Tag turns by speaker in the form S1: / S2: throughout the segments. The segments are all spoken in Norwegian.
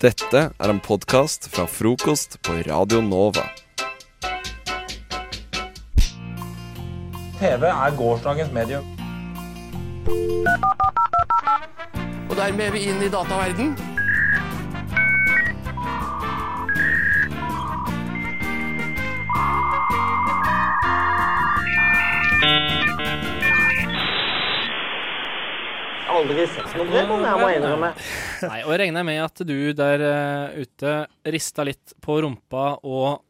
S1: Dette er en podkast fra frokost på Radio Nova.
S2: TV er gårsdagens medium.
S3: Og dermed er vi inn i dataverden.
S4: Aldri sett noe sånt, jeg må innrømme.
S5: Nei, og jeg regner med at du der eh, ute rista litt på rumpa og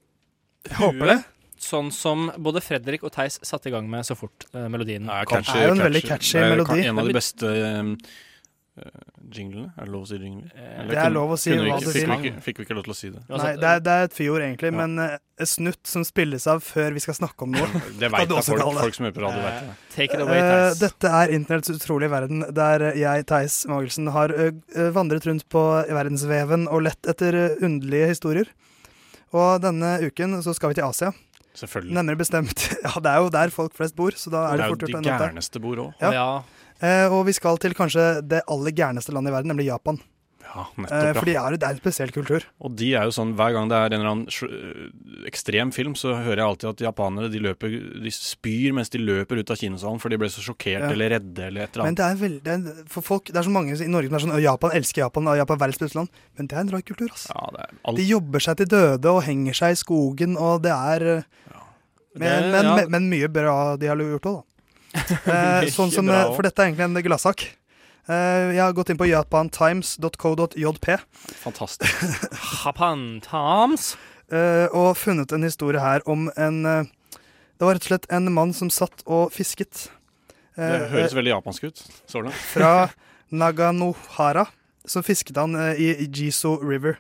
S6: Håper det.
S5: sånn som både Fredrik og Theis satte i gang med så fort eh, melodien
S7: er
S5: kom.
S7: catchy,
S6: er jo en veldig catchy
S7: Det er
S6: melodi.
S7: En av de beste eh, jinglene. Er det lov å si jingle? Eller
S6: Eh, Det er
S7: kunne-
S6: lov å si
S7: kunne vi
S6: hva
S7: ikke-
S6: du
S7: fikk
S6: vil.
S7: Vi ikke, fikk vi ikke lov til å si det?
S6: Nei,
S3: Altså,
S6: det
S3: eh,
S6: er, det er et fjord, egentlig, men eh, et snutt som spilles av før vi skal snakke om noe.
S7: Det
S6: Kan
S7: vet
S6: du
S7: jeg,
S6: også
S7: folk,
S6: kalle det?
S7: folk som hører på radio, vet det.
S5: Take it away,
S6: Eh,
S5: Theis.
S6: dette er Internetts utrolige verden, der eh, jeg, Theis Magelsen, har eh, eh, vandret rundt på verdensveven og lett etter eh, underlige historier. Og denne uken så skal vi til Asia.
S7: Selvfølgelig.
S6: Nærmere bestemt Ja, det er jo der folk flest bor, så da
S7: det
S6: er det
S7: er jo
S6: fort gjort
S7: de
S6: å ende opp der.
S7: gærneste bor òg.
S6: ja.
S5: ja.
S6: Eh, og vi skal til kanskje det aller gærneste landet i verden, nemlig Japan.
S7: Ja,
S6: Eh,
S7: Ah, nettopp.
S6: fordi
S7: Ja.
S6: det er, det er en spesiell kultur.
S7: Og de er jo sånn, hver gang det er en eller annen sj- eh, ekstrem film, så hører jeg alltid at japanere de løper, de spyr mens de løper ut av kinosalen, for de ble så sjokkert
S6: Ja.
S7: eller redde eller et eller annet.
S6: Men det er, veldig, det er, for folk, det er så mange i Norge som er sånn «Å, Japan elsker Japan, og Japan er verdens beste land. Men det er en rar kultur, ass.
S7: Ja, det er alt.
S6: De jobber seg til døde og henger seg i skogen, og det er eh,
S7: Det-
S6: Men, men,
S7: ja.
S6: men, men mye bra de har gjort òg, da. Eh, sånn som, eh, for dette er egentlig en gladsak. Eh, jeg har gått inn på japantimes.co.jp
S7: Fantastisk.
S5: Japan Times.
S6: eh, og funnet en historie her om en eh, Det var rett og slett en mann som satt og fisket.
S7: Det
S6: eh,
S7: høres veldig japansk ut så langt.
S6: fra Naganohara, så fisket han eh, i Jiso River.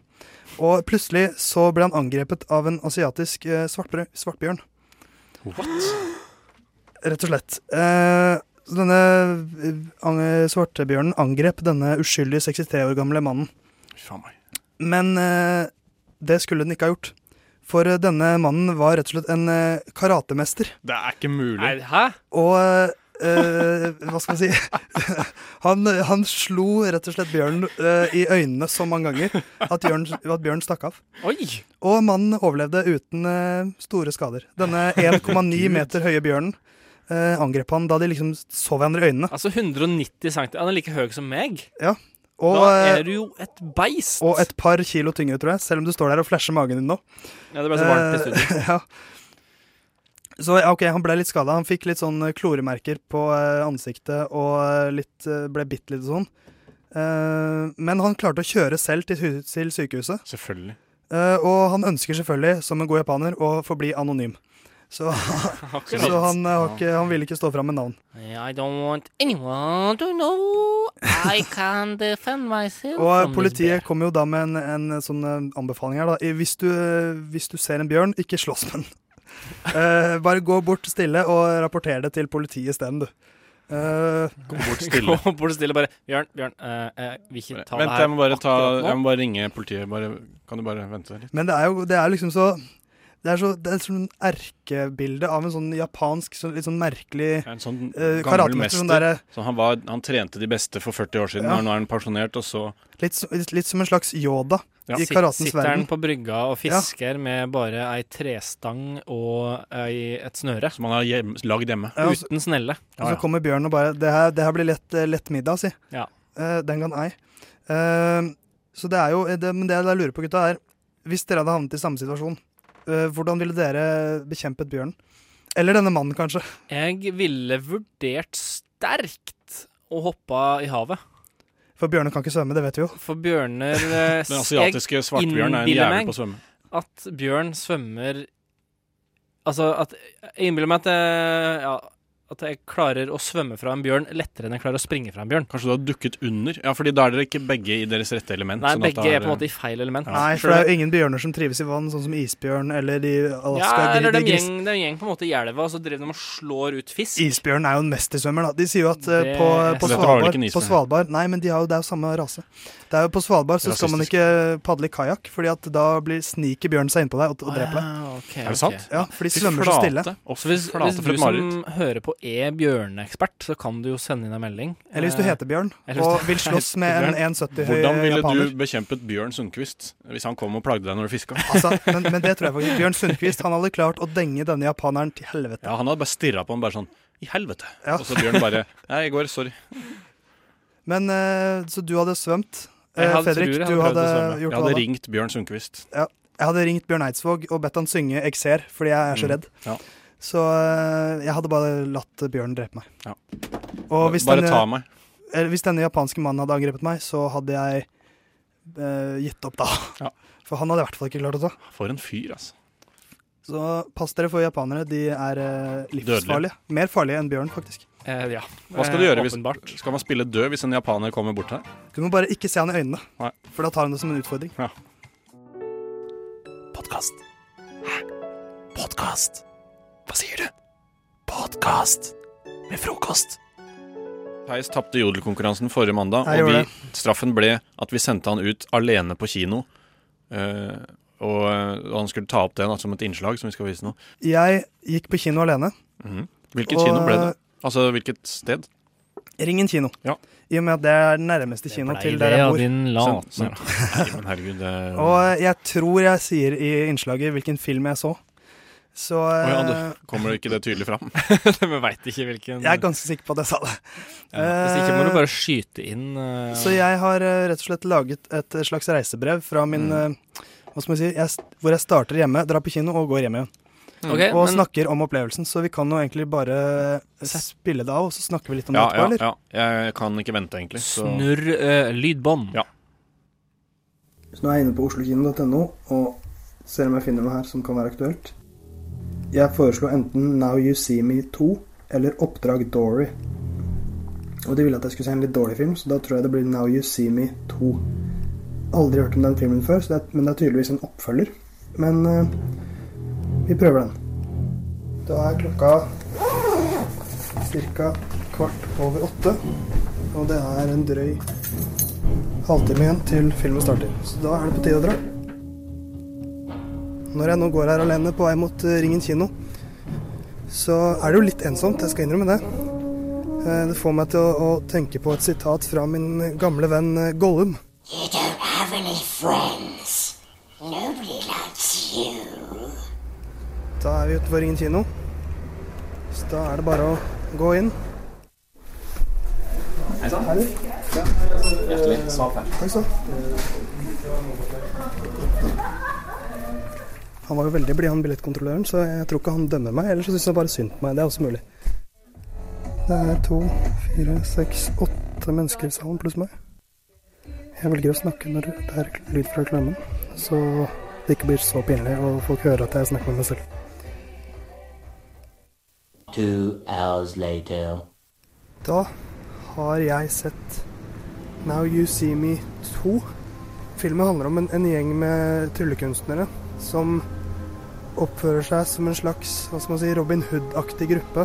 S6: Og plutselig så ble han angrepet av en asiatisk eh, svartbrø- svartbjørn. Rett og slett. Eh, så denne eh, an- eh, svartebjørnen angrep denne uskyldige 63 år gamle mannen.
S7: Faen meg.
S6: Men eh, det skulle den ikke ha gjort. For eh, denne mannen var rett og slett en eh, karatemester.
S7: Det er ikke mulig.
S5: Nei, hæ?
S6: Og eh, hva skal man si han, han slo rett og slett bjørnen eh, i øynene så mange ganger at bjørnen, at bjørnen stakk av.
S5: Oi!
S6: Og mannen overlevde uten eh, store skader. Denne 1,9 meter høye bjørnen eh, angrep han da de liksom så hverandre i øynene.
S5: Altså 190 cm. Han er like høy som meg.
S6: Og,
S5: da
S6: eh,
S5: er du jo et beist.
S6: og et par kilo tyngre, tror jeg, selv om du står der og flasher magen din nå.
S5: Ja, det ble så varmt i studio.
S6: Eh, ja. Så ja, ok, han ble litt skada. Han fikk litt sånn eh, kloremerker på eh, ansiktet og eh, litt, eh, ble bitt litt og sånn. Eh, men han klarte å kjøre selv til, hu- til sykehuset.
S7: Selvfølgelig.
S6: Eh, og han ønsker selvfølgelig, som en god japaner, å forbli anonym. Så, så
S5: Akkurat.
S6: han, eh, har ikke, han ville ikke stå fram med navn.
S5: I don't want anyone to know I can defend myself
S6: Og eh,
S5: from this
S6: politiet
S5: bear.
S6: kom jo da med en, en sånn eh, anbefaling her, da. I- Hvis du, eh, hvis du ser en bjørn, ikke slåss med den. Eh, bare gå bort stille og rapporter det til politiet isteden, du. Eh,
S7: Kom bort stille.
S5: Og politiet bare Bjørn, Bjørn, eh, jeg vil ikke ta
S7: Vent,
S5: det her.
S7: jeg må bare, ta,
S5: akkurat nå.
S7: jeg må bare ringe politiet. Bare, kan du bare vente litt?
S6: men det er jo det er liksom så Det er så det er sånn erkebilde av en sånn japansk, sånn, litt sånn merkelig
S7: En sånn
S6: eh,
S7: gammel
S6: karatemester.
S7: mester.
S6: Sånn derre-
S7: Så han, var, han trente de beste for 40 år siden,
S6: Ja.
S7: og nå er han pensjonert, og så
S6: litt, så- eh, litt, litt som en slags Yoda
S7: Ja.
S6: i
S5: Sit-
S6: karatens
S5: Sitter han
S6: verden.
S5: på brygga og fisker med bare ei trestang og ei, et snøre.
S7: Som han har hjem, lagd hjemme.
S6: Ja, og så-
S5: Uten snelle. Altså,
S6: Og så kommer bjørnen og bare Det her, det her blir lett, eh, lett middag, si.
S5: Ja.
S6: Eh, den kan ei. Eh, så det er jo eh, det, Men det jeg lurer på, gutta, er Hvis dere hadde havnet i samme situasjon, eh, hvordan ville dere bekjempet bjørnen? Eller denne mannen, kanskje.
S5: Jeg ville vurdert sterkt å hoppe i havet.
S6: For bjørner kan ikke svømme, det vet vi jo.
S5: For bjørner eh,
S7: Den
S5: Jeg
S7: asiatiske svartbjørnen er en
S5: innbiller
S7: jævel
S5: meg-
S7: på å svømme.
S5: at bjørn svømmer Altså at Jeg innbiller meg at jeg, ja, at jeg klarer å svømme fra en bjørn lettere enn jeg klarer å springe fra en bjørn.
S7: Kanskje du har dukket under? Ja, fordi da er dere ikke begge i deres rette element.
S5: Nei,
S7: sånn at
S5: begge
S7: det
S5: er på en måte i feil element.
S6: Nei, for det er jo ingen bjørner som trives i vann, sånn som isbjørn eller de
S5: Ja,
S6: Alaska
S5: eller
S6: de,
S5: de
S6: de gris,
S5: gjeng, de gjeng på en måte i elva, og så driver de og slår ut fisk.
S6: Isbjørn er jo en mestersvømmer, da. De sier jo at eh,
S5: Det-
S7: Dette
S6: på, på,
S7: var vel ikke
S6: Svalbard,
S7: en
S6: på
S7: isbjørn.
S6: Svalbard Nei, men de har jo, det er jo samme rase. Det er jo På Svalbard så skal man
S7: Rasistisk.
S6: ikke padle i kajakk, Fordi at da blir, sniker bjørnen seg innpå deg og, og dreper deg.
S5: Ah, ok,
S7: Er det
S5: ok.
S7: sant?
S6: Ja, for de
S7: Fy
S6: svømmer så
S7: flate.
S6: stille.
S7: Å,
S5: Så hvis,
S7: flate
S5: hvis
S7: for
S5: du
S7: et
S5: som
S7: mareritt.
S5: hører på er bjørneekspert, så kan du jo sende inn en melding.
S6: Eller hvis du
S5: Eh,
S6: heter Bjørn
S5: eller hvis
S6: og
S5: du
S6: vil slåss
S5: heter
S6: med en
S5: Bjørn.
S6: 1,70 høy
S7: Hvordan ville
S6: japaner.
S7: du bekjempet Bjørn Sundquist hvis han kom og plagde deg når du fiska?
S6: Altså, men, men det tror jeg faktisk. Bjørn Sundquist han hadde klart å denge denne japaneren til helvete.
S7: Ja, han hadde bare stirra på han bare sånn I helvete!
S6: Ja.
S7: Og så Bjørn bare Nei, i går, sorry.
S6: Men eh, Så du hadde svømt.
S5: Jeg
S6: Eh,
S5: hadde-
S6: Fredrik,
S5: tror jeg hadde
S6: du
S5: prøvd
S6: hadde
S5: å svømme.
S7: Jeg
S6: gjort hva
S7: hadde
S6: da?
S7: ringt Bjørn Sundquist.
S6: Jeg hadde ringt Bjørn Eidsvåg og bedt han synge 'Ekser', fordi jeg er så
S7: Mm,
S6: redd.
S7: ja.
S6: Så eh, jeg hadde bare latt Bjørn drepe meg.
S7: Ja.
S6: Og hvis
S7: Bare
S6: denne,
S7: ta meg.
S6: eller hvis denne japanske mannen hadde angrepet meg, så hadde jeg eh, gitt opp da.
S7: Ja.
S6: For han hadde i hvert fall ikke klart å ta.
S7: For en fyr, altså.
S6: Så pass dere for japanere. De er eh, livsfarlige. Mer farlige enn bjørn, faktisk.
S5: Eh, ja.
S7: Hva skal du
S5: Eh,
S7: gjøre hvis-
S5: Åpenbart.
S7: Skal man spille død hvis en japaner kommer bort her?
S6: Du må bare ikke se han i øynene,
S7: Nei.
S6: for da tar han det som en utfordring.
S1: Podkast. Hæ? Podkast? Hva sier du? Podkast med frokost.
S7: Theis tapte jodelkonkurransen forrige mandag,
S6: Jeg
S7: og vi,
S6: gjorde
S7: straffen ble at vi sendte han ut alene på kino. Eh, og, og han skulle ta opp det da, som et innslag som vi skal vise nå.
S6: Jeg gikk på kino alene.
S7: Mhm. Hvilket kino ble det? Altså hvilket sted?
S6: Ringen kino.
S7: Ja.
S6: I og med at det er den nærmeste
S5: Det
S6: kino
S5: blei det,
S6: til der jeg
S5: ja,
S6: bor.
S5: Din
S7: Sen-
S5: latner.
S7: Nei, men herregud, det
S6: Og eh, jeg tror jeg sier i innslaget hvilken film jeg så. Så
S7: Å ja,
S6: eh,
S7: kommer ikke det tydelig fram.
S5: Vi veit ikke hvilken
S6: jeg er ganske sikker på at jeg sa det. Eh,
S5: Hvis ikke må du bare skyte inn eh,
S6: Så jeg har eh, rett og slett laget et slags reisebrev fra min
S7: Mm.
S6: eh, Hva skal man si jeg, st- Hvor jeg starter hjemme, drar på kino og går hjem igjen.
S5: Mm. Ok,
S6: Og
S5: men-
S6: snakker om opplevelsen. Så vi kan jo egentlig bare eh,
S5: Sett.
S6: spille det av, og så snakker vi litt om
S7: Ja,
S6: det
S7: ja,
S6: etterpå, eller?
S7: ja. Jeg kan ikke vente, egentlig. Så.
S5: Snurr eh, lydbånd.
S7: Ja.
S6: Så nå er jeg inne på oslokino.no og ser om jeg finner noe her som kan være aktuelt. Jeg foreslo enten Now You See Me 2 eller Oppdrag Dory. Og de ville at jeg skulle se en litt dårlig film, så da tror jeg det blir Now You See Me 2. Aldri hørt om den filmen før, så det er, men det er tydeligvis en oppfølger. Men eh, vi prøver den. Da er klokka ca. kvart over åtte, og det er en drøy halvtime igjen til filmen starter, så da er det på tide å dra. Når jeg nå går her alene på vei mot eh, Ringen kino, så er det jo litt ensomt, jeg skal innrømme det. Eh, Det får meg til å, å tenke på et sitat fra min gamle venn eh, Gollum.
S2: You don't have any friends. Nobody likes you.
S6: Da er vi utenfor Ringen kino. Så da er det bare å gå inn. Hei sann. Hjertelig. Svart her. Han var jo veldig blid, han billettkontrolløren, så jeg tror ikke han dømmer meg. Eller så syns han bare synd på meg. Det er også mulig. Det er to, fire, seks, åtte mennesker i salen pluss meg. Jeg velger å snakke når det er lyd fra klemmen, så det ikke blir så pinlig og folk hører at jeg snakker med meg selv.
S2: Two hours later.
S6: Da har jeg sett Now You See Me 2. Filmen handler om en, en gjeng med tryllekunstnere som oppfører seg som en slags hva skal man si, Robin Hood-aktig gruppe.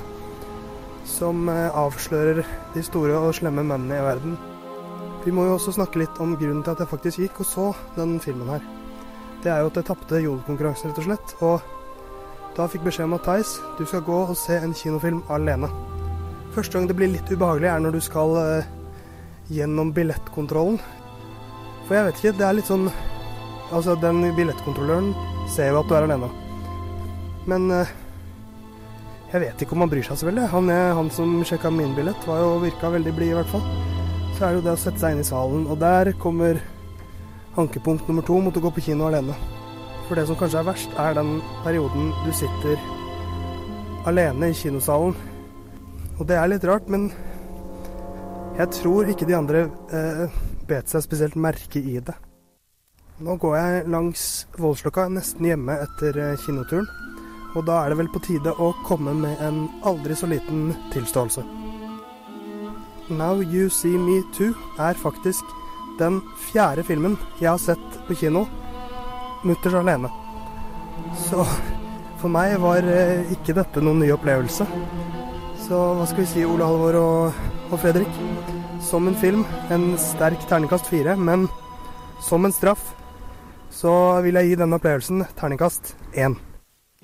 S6: Som eh, avslører de store og slemme mennene i verden. Vi må jo også snakke litt om grunnen til at jeg faktisk gikk og så den filmen her. Det er jo at jeg tapte jodelkonkurransen, rett og slett. Og da fikk beskjed om at Theis, du skal gå og se en kinofilm alene. Første gang det blir litt ubehagelig, er når du skal eh, gjennom billettkontrollen. For jeg vet ikke, det er litt sånn Altså, den billettkontrolløren ser jo at du er alene. Men eh, jeg vet ikke om han bryr seg så veldig. Han, eh, han som sjekka min billett, var jo, virka veldig blid, i hvert fall. Så er det jo det å sette seg inn i salen, og der kommer ankepunkt nummer to mot å gå på kino alene. For det som kanskje er verst, er den perioden du sitter alene i kinosalen og det er litt rart, men jeg tror ikke de andre eh, bet seg spesielt merke i det. Nå går jeg langs Voldsløkka, nesten hjemme etter eh, kinoturen. Og da er det vel på tide å komme med en aldri så liten tilståelse. Now You See Me Too er faktisk den fjerde filmen jeg har sett på kino mutters alene. Så for meg var eh, ikke dette noen ny opplevelse. Så hva skal vi si, Ole Halvor og, og Fredrik? Som en film, en sterk terningkast fire, men som en straff så vil jeg gi denne opplevelsen terningkast én.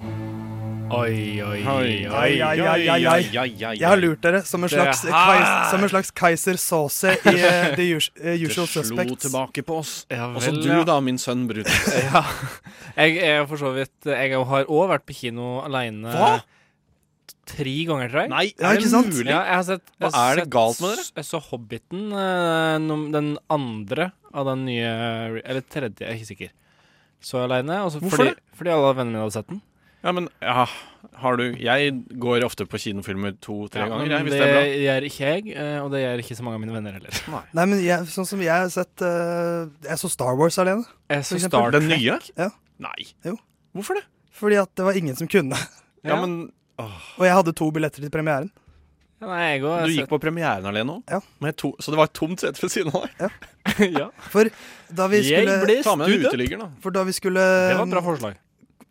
S5: Oi, oi,
S7: Oi,
S5: oi.
S6: Ai, ai, ai, ai, ai. Jeg har lurt dere som en
S5: Det
S6: slags,
S5: her-
S6: kais- som en slags Kaiser Sauce i eh, The Us- eh,
S7: Det
S6: Usual
S7: slo
S6: Suspects.
S7: tilbake på oss.
S5: Ja
S7: Også
S5: vel,
S7: du,
S5: ja.
S7: da, min sønn Brutus.
S5: Ja. Jeg er for så vidt Jeg har òg vært på kino aleine
S7: Hva?
S5: tre ganger, tror jeg.
S7: Nei,
S6: Ja,
S7: er
S6: ikke
S7: det
S6: sant?
S7: mulig?
S5: Ja, jeg har sett, jeg
S7: Hva
S5: har
S7: er det
S5: sett-
S7: galt med dere?
S5: Jeg så Hobbiten, eh, nom- den andre av den nye Eller tredje, jeg er ikke sikker. Så jeg aleine. og så
S7: Hvorfor
S5: fordi,
S7: det?
S5: fordi alle vennene mine hadde sett den.
S7: Ja, men ja, har du Jeg går ofte på kinofilmer to-tre
S5: Ja,
S7: ganger,
S5: men
S7: jeg, hvis
S5: det,
S7: det er bra.
S5: gjør ikke jeg, eh, og det gjør ikke så mange av mine venner heller.
S6: Nei, men jeg, sånn som jeg har sett eh, Jeg så Star Wars alene.
S5: Jeg så
S6: For eksempel
S5: Star
S7: Den
S5: Trek.
S7: nye?
S6: Ja.
S7: Nei.
S6: Jo.
S7: Hvorfor det?
S6: Fordi at det var ingen som kunne.
S7: Ja,
S5: Ja.
S7: men
S6: Og jeg hadde to billetter til premieren.
S5: Ja, Nei, jeg altså-
S7: Du
S5: òg.
S7: gikk på premieren alene òg?
S6: Ja.
S7: Så det var et tomt sete ved siden av deg?
S5: ja.
S6: For da vi
S5: Jeg
S6: skulle,
S5: ble
S7: Ta med en
S5: studd opp.
S7: uteligger, da.
S6: for da vi skulle
S5: Det var et bra forslag.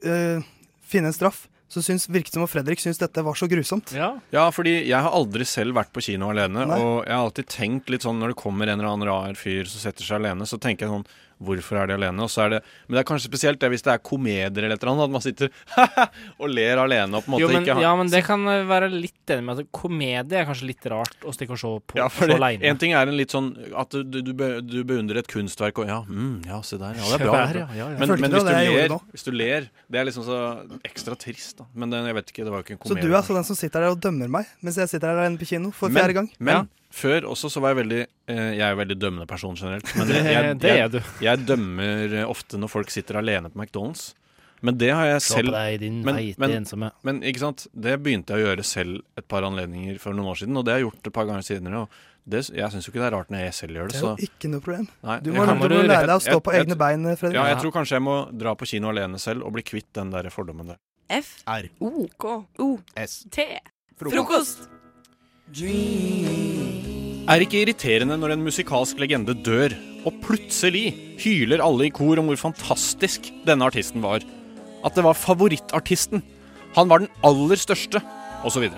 S6: eh, finne en straff, så syns, virket det som om Fredrik syntes dette var så grusomt.
S5: Ja.
S7: Ja, fordi jeg har aldri selv vært på kino alene,
S6: Nei.
S7: og jeg har alltid tenkt litt sånn når det kommer en eller annen rar fyr som setter seg alene, så tenker jeg sånn Hvorfor er de alene? Og så er det Men det er kanskje spesielt det hvis det er komedier eller et eller annet, at man sitter og ler alene og på en måte
S5: Jo, men,
S7: ikke har
S5: ja, men det kan eh, være litt enig med at komedie er kanskje litt rart å stikke og se på
S7: Ja,
S5: så
S7: fordi
S5: alene.
S7: En ting er en litt sånn at du, du, du be- du beundrer et kunstverk og Ja, mm, ja se der. Ja, det er
S5: Se
S7: bra.
S5: der,
S7: det er
S5: ja,
S7: bra.
S5: ja, ja.
S7: Men,
S6: Jeg følte
S7: men
S6: det
S7: hvis,
S6: var
S7: du
S6: det jeg gjorde
S7: ler,
S6: nå.
S7: hvis du ler Det er liksom så ekstra trist, da. Men det, jeg vet ikke, det var jo ikke en
S6: Så
S7: komedie.
S6: du er altså den som sitter der og dømmer meg, mens jeg sitter her alene på kino for fjerde gang.
S7: Men
S5: Ja.
S7: før også så var jeg veldig eh, Jeg er jo veldig dømmende person generelt. Men
S5: det,
S7: jeg, jeg,
S5: det
S7: jeg,
S5: er du.
S7: jeg dømmer eh, ofte når folk sitter alene på McDonald's. Men det har jeg selv
S5: deg, din
S7: men- feite men-
S5: ensomme.
S7: Men ikke sant, det begynte jeg å gjøre selv et par anledninger for noen år siden, og det har jeg gjort et par ganger senere. Og det, jeg syns jo ikke det er rart når jeg selv gjør
S6: Det
S7: det,
S6: er
S7: så
S6: jo ikke noe problem.
S7: nei, jeg kan-
S6: Du må, du
S5: kan
S6: må
S5: bare-
S6: lære deg å stå
S7: jeg-
S6: på
S7: jeg-
S6: egne bein, Fredrik.
S7: Ja, jeg tror kanskje jeg må dra på kino alene selv og bli kvitt den der fordommen der.
S8: F
S9: R.
S8: O K O
S9: S.
S8: T. Frokost.
S7: Er ikke irriterende når en musikalsk legende dør, og plutselig hyler alle i kor om hvor fantastisk denne artisten var. At det var favorittartisten. Han var den aller største, osv.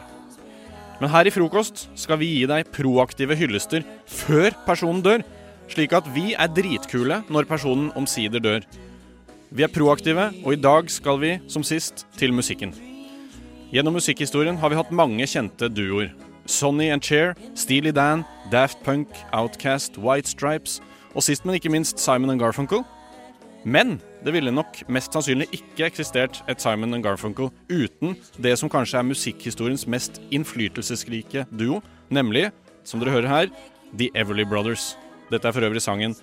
S7: Men her i Frokost skal vi gi deg proaktive hyllester før personen dør, slik at vi er dritkule når personen omsider dør. Vi er proaktive, og i dag skal vi, som sist, til musikken. Gjennom musikkhistorien har vi hatt mange kjente duoer. Sonny and Cher, Steely Dan, Daft Punk, Outcast, White Stripes og sist, men ikke minst Simon and Garfunkel. Men det ville nok mest sannsynlig ikke eksistert et Simon and Garfunkel uten det som kanskje er musikkhistoriens mest innflytelsesrike duo, nemlig, som dere hører her, The Everly Brothers. Dette er for øvrig sangen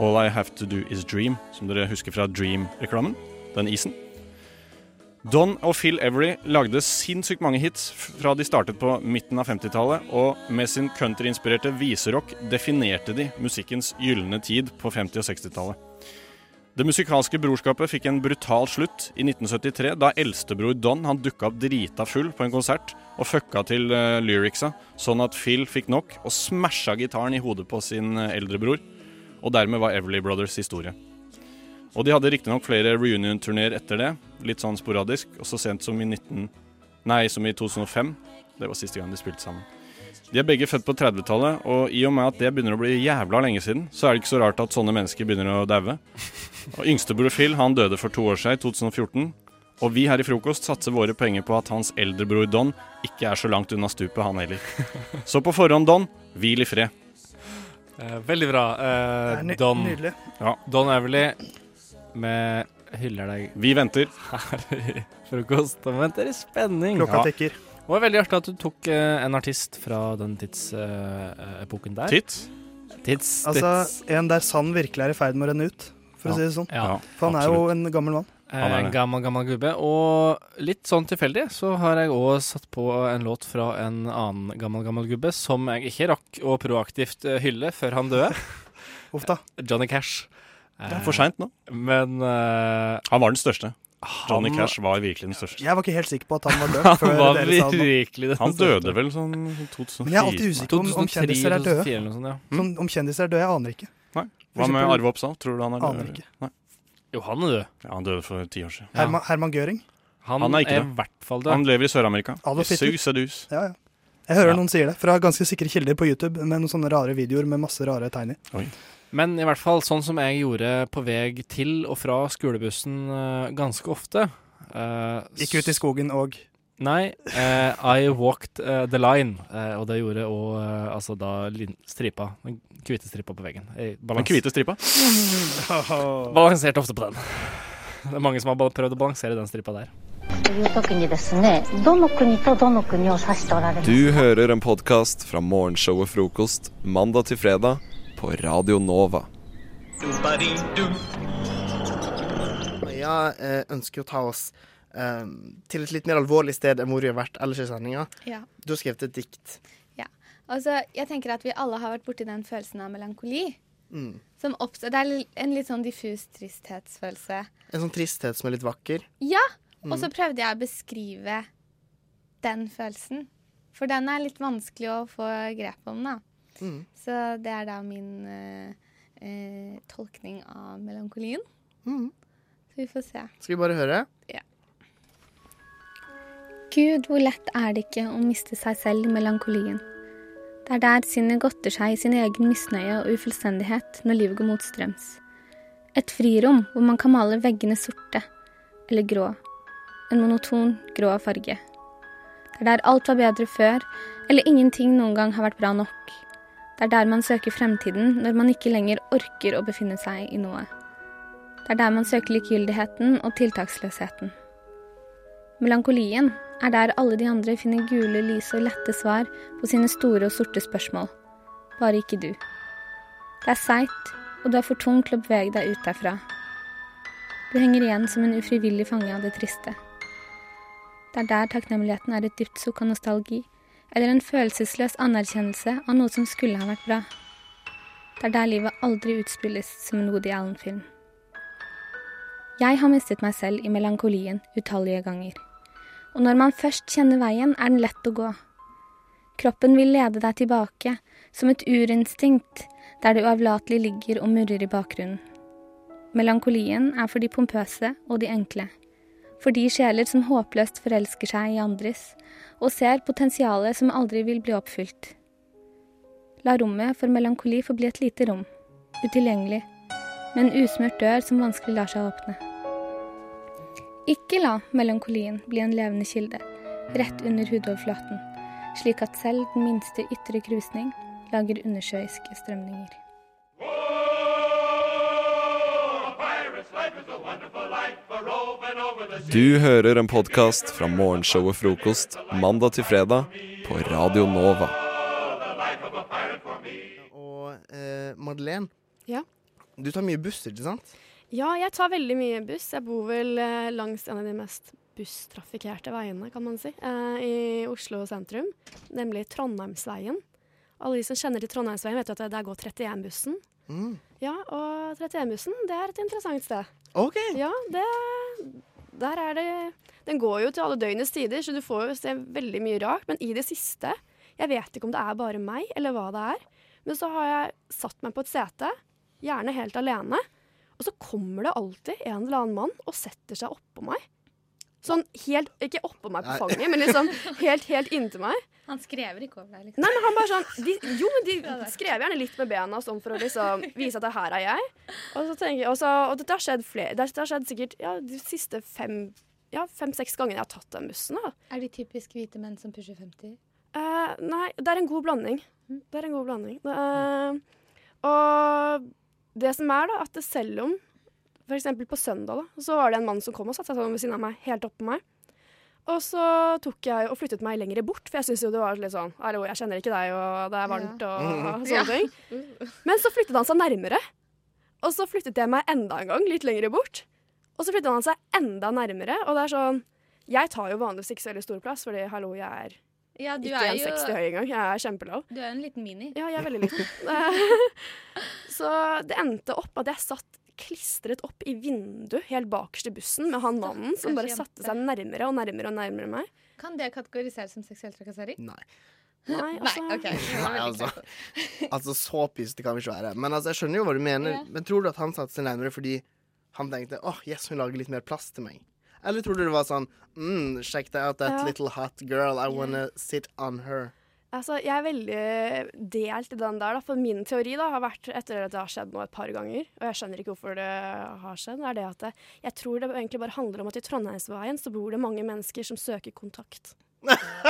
S7: All I Have To Do Is Dream, som dere husker fra Dream-reklamen. Den isen. Don og Phil Every lagde sinnssykt mange hits fra de startet på midten av 50-tallet, og med sin countryinspirerte viserock definerte de musikkens gylne tid på 50- og 60-tallet. Det musikalske brorskapet fikk en brutal slutt i 1973, da eldstebror Don han dukka opp drita full på en konsert og fucka til eh, lyricsa, sånn at Phil fikk nok og smasha gitaren i hodet på sin eh, eldre bror. Og dermed var Everly Brothers historie. Og de hadde riktignok flere reunion-turnéer etter det, litt sånn sporadisk, og så sent som i 19... Nei, som i 2005. Det var siste gang de spilte sammen. De er begge født på 30-tallet, og i og med at det begynner å bli jævla lenge siden, så er det ikke så rart at sånne mennesker begynner å daue. Og Yngstebror Phil han døde for to år siden, i 2014. Og vi her i Frokost satser våre penger på at hans eldrebror Don ikke er så langt unna stupet, han heller. Så på forhånd, Don, hvil i fred.
S5: Eh, veldig bra. Eh,
S6: Det er ny-
S5: Don,
S6: Nydelig.
S5: Don Everly med Hyller deg
S7: Vi venter.
S5: her i frokost og venter i spenning.
S6: Klokka
S5: Ja.
S6: tikker.
S5: Det var veldig artig at du tok eh, en artist fra den tidsepoken der.
S7: Titt.
S5: Tids,
S6: Altså,
S5: tids.
S6: en der sand virkelig er i ferd med å renne ut, for å si det sånn.
S5: Ja. Eh,
S6: For han er jo en gammel mann.
S7: Han er
S5: En
S7: det.
S5: gammel, gammel gubbe. Og litt sånn tilfeldig så har jeg òg satt på en låt fra en annen gammel, gammel gubbe som jeg ikke rakk å proaktivt eh, hylle før han døde.
S6: Uff da.
S5: Johnny Cash.
S7: Det er for seint nå.
S5: Men eh,
S7: Han var den største. Johnny
S5: han-
S7: Cash var virkelig den største.
S6: Jeg var ikke helt sikker på at han var død. før
S5: han var
S6: dere sa det nå.
S5: virkelig den
S7: Han døde vel sånn 2004.
S6: Men jeg er alltid usikker om, om kjendiser er døde.
S5: eller noe sånt, ja. Mm.
S6: Sånn, om kjendiser er døde, jeg aner ikke.
S7: Hva med Arve Oppsal? Tror du han er død?
S6: Aner
S7: eller?
S6: ikke.
S7: Nei.
S5: Jo, han er død.
S7: Ja, han døde for ti år siden.
S5: Ja.
S6: Herman, Herman Göring.
S5: Han,
S7: Han er
S5: er,
S7: ikke
S5: i hvert fall død.
S7: Han lever i Sør-Amerika.
S6: Adolf Hitler.
S7: Sus og dus.
S6: Ja, ja. Jeg hører
S7: Ja.
S6: noen sier det, fra ganske sikre kilder på YouTube, med noen sånne rare videoer med masse rare tegn i.
S5: Men i hvert fall sånn som jeg gjorde på vei til og fra skolebussen eh, ganske ofte, Eh,
S6: Gikk ut i skogen og
S5: Nei. eh, I walked eh, the line, eh, og det gjorde òg altså da lin stripa, den hvite stripa på veggen. Jeg
S7: Den
S5: balans
S7: hvite stripa.
S5: balanserte ofte på den. Det er mange som har ba- prøvd å balansere den stripa der.
S2: という時にですねどの国とどの国を指しておられます
S1: Du hører en podkast fra morgenshowet Frokost mandag til fredag på Radio Nova.
S9: Maja eh, ønsker å ta oss eh, til et litt mer alvorlig sted enn hvor vi har vært ellers i sendinga.
S10: Ja.
S9: Du har skrevet et dikt.
S10: Altså, jeg tenker at vi alle har vært borti den følelsen av melankoli.
S9: Mm.
S10: Som oppstår, det er li- en litt sånn diffus tristhetsfølelse.
S9: En sånn tristhet som er litt vakker.
S10: Ja! Og så prøvde jeg å beskrive den følelsen. For den er litt vanskelig å få grep om, da.
S9: Mm.
S10: Så det er da min eh, eh, tolkning av melankolien.
S9: Mm.
S10: Så vi får se.
S9: Skal vi bare høre?
S10: Gud, hvor lett er det ikke å miste seg selv i melankolien. Det er der sinnet godter seg i sin egen misnøye og ufullstendighet når livet går motstrøms. Et frirom hvor man kan male veggene sorte eller grå. En monoton, grå farge. Det er der alt var bedre før, eller ingenting noen gang har vært bra nok. Det er der man søker fremtiden når man ikke lenger orker å befinne seg i noe. Det er der man søker likegyldigheten og tiltaksløsheten. Melankolien er der alle de andre finner gule, lyse og lette svar på sine store og sorte spørsmål. Bare ikke du. Det er seigt, og du er for tung til å bevege deg ut derfra. Du henger igjen som en ufrivillig fange av det triste. Det er der takknemligheten er et dypt sukk av nostalgi, eller en følelsesløs anerkjennelse av noe som skulle ha vært bra. Det er der livet aldri utspilles som en Woody Allen-film. Jeg har mistet meg selv i melankolien utallige ganger. Og når man først kjenner veien, er den lett å gå. Kroppen vil lede deg tilbake, som et urinstinkt, der det uavlatelig ligger og murrer i bakgrunnen. Melankolien er for de pompøse og de enkle. For de sjeler som håpløst forelsker seg i andres, og ser potensialet som aldri vil bli oppfylt. La rommet for melankoli forbli et lite rom, utilgjengelig, med en usmurt dør som vanskelig lar seg åpne. Ikke la melankolien bli en levende kilde rett under hudoverflaten, slik at selv den minste ytre krusning lager undersjøiske strømninger.
S1: Du hører en podkast fra morgenshowet Frokost mandag til fredag på Radio Nova.
S9: Og eh, Madeleine,
S8: Ja.
S9: du tar mye buss, ikke sant?
S8: Ja, jeg tar veldig mye buss. Jeg bor vel eh, langs en av de mest busstrafikkerte veiene, kan man si, eh, i Oslo sentrum. Nemlig Trondheimsveien. Alle de som kjenner til Trondheimsveien, vet jo at det- der går 31-bussen.
S9: Mm.
S8: Ja, og 31-bussen, det er et interessant sted.
S9: OK.
S8: Ja, det Der er det Den går jo til alle døgnets tider, så du får jo se veldig mye rart. Men i det siste Jeg vet ikke om det er bare meg, eller hva det er. Men så har jeg satt meg på et sete, gjerne helt alene. Og så kommer det alltid en eller annen mann og setter seg oppå meg. Sånn helt Ikke oppå meg på fanget, men liksom helt, helt inntil meg.
S10: Han skrever ikke over deg, liksom.
S8: Nei, men han bare sånn de, Jo, men de skrev gjerne litt med bena sånn for å liksom vise at det her er jeg. Og, så tenker, jeg- og, så, og dette har skjedd flere Dette har skjedd sikkert ja, de siste fem Ja, fem-seks gangene jeg har tatt den bussen. da
S10: Er de typisk hvite menn som pusher 50?
S8: Eh, Nei, det er en god blanding. Det er en god blanding. Det, eh, og det som er, da, at det selv om For eksempel på søndag, da, så var det en mann som kom og satte seg sånn ved siden av meg, helt oppå meg. Og så tok jeg og flyttet meg lenger bort, for jeg syntes jo det var litt sånn Hallo, jeg kjenner ikke deg, og det er varmt, og
S10: Ja.
S8: sånne ting. Men så flyttet han seg nærmere. Og så flyttet jeg meg enda en gang, litt lenger bort. Og så flyttet han seg enda nærmere, og det er sånn Jeg tar jo vanligvis ikke så veldig stor plass, fordi hallo, jeg er
S10: Ja, du er
S8: ikke
S10: jo
S8: 1,60 høy engang. Jeg er kjempelav.
S10: du er jo en liten mini.
S8: Ja, jeg er veldig liten. så det endte opp at jeg satt klistret opp i vinduet helt bakerst i bussen med han mannen som bare
S10: Stakkars
S8: satte seg nærmere og nærmere og nærmere meg.
S10: Kan det kategoriseres som seksuell trakassering?
S9: Nei.
S8: Nei, altså,
S10: Nei, OK.
S9: Nei, altså. Altså, så pysete kan vi ikke være. Men altså, jeg skjønner jo hva du mener.
S10: Ja.
S9: Men tror du at han satte seg nærmere fordi han tenkte åh, yes, hun lager litt mer plass til meg? Eller tror du det var sånn mm, Check that out, that
S8: Ja.
S9: little hot girl. I wanna sit on her.
S8: Altså, jeg er veldig delt i den der, da. For min teori da, har vært, etter at det har skjedd nå et par ganger, og jeg skjønner ikke hvorfor det har skjedd, er det at det, jeg tror det egentlig bare handler om at i Trondheimsveien så bor det mange mennesker som søker kontakt.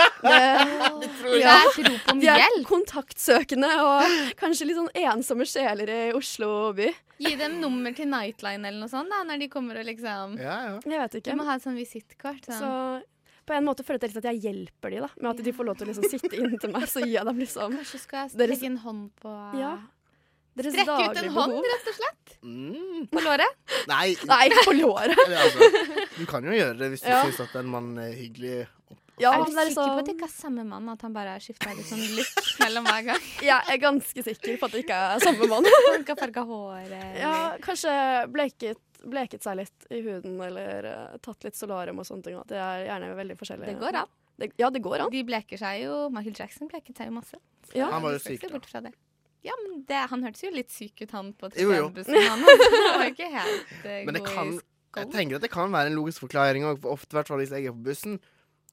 S8: det
S10: tror jeg. Det er et rop om
S8: De er
S10: hjelp.
S8: kontaktsøkende og kanskje litt sånn ensomme sjeler i Oslo by.
S10: Gi dem nummer til Nightline eller noe sånt da, når de kommer og liksom
S8: Jeg vet ikke.
S10: Du må ha et sånn visittkort. Sånn.
S8: Så på en måte føler jeg litt at jeg hjelper de da, med at de får lov til å liksom sitte inntil meg, så gir jeg dem liksom
S10: Kanskje skal jeg
S8: Deres-
S10: legge en hånd på
S8: Ja. Deres
S10: Strekke ut en
S8: daglige
S10: hånd,
S8: behov.
S10: rett og slett? På låret?
S9: Mm. Nei,
S8: Nei, på låret.
S9: eller altså, du kan jo gjøre det hvis du
S8: Ja.
S9: syns at en mann er hyggelig.
S8: Ja,
S10: er du
S8: han er
S10: sikker på at det
S8: liksom,
S10: ikke er samme mann, at han bare har skifta litt sånn look mellom hver gang?
S8: jeg er ganske sikker på at det ikke er samme mann.
S10: Han ikke har farga håret
S8: Ja, kanskje bleket, bleket seg litt i huden, eller eh, tatt litt solarium og sånne ting. At det er gjerne veldig forskjellig.
S10: Det går an.
S8: Det, ja, det går an.
S10: De bleker seg jo Michael Jackson bleket seg jo masse. Så
S8: Ja.
S9: Han var jo
S10: skal ikke se
S9: syk, da.
S10: bort fra det. Ja, men det, han hørtes jo litt syk ut, han på
S9: Jo, jo.
S10: treningsbussen. Han Han var jo ikke helt eh,
S9: Men det
S10: god
S9: kan,
S10: i
S9: jeg
S10: skollen.
S9: tenker at det kan være en logisk forklaring òg, for ofte, i hvert fall hvis jeg er på bussen,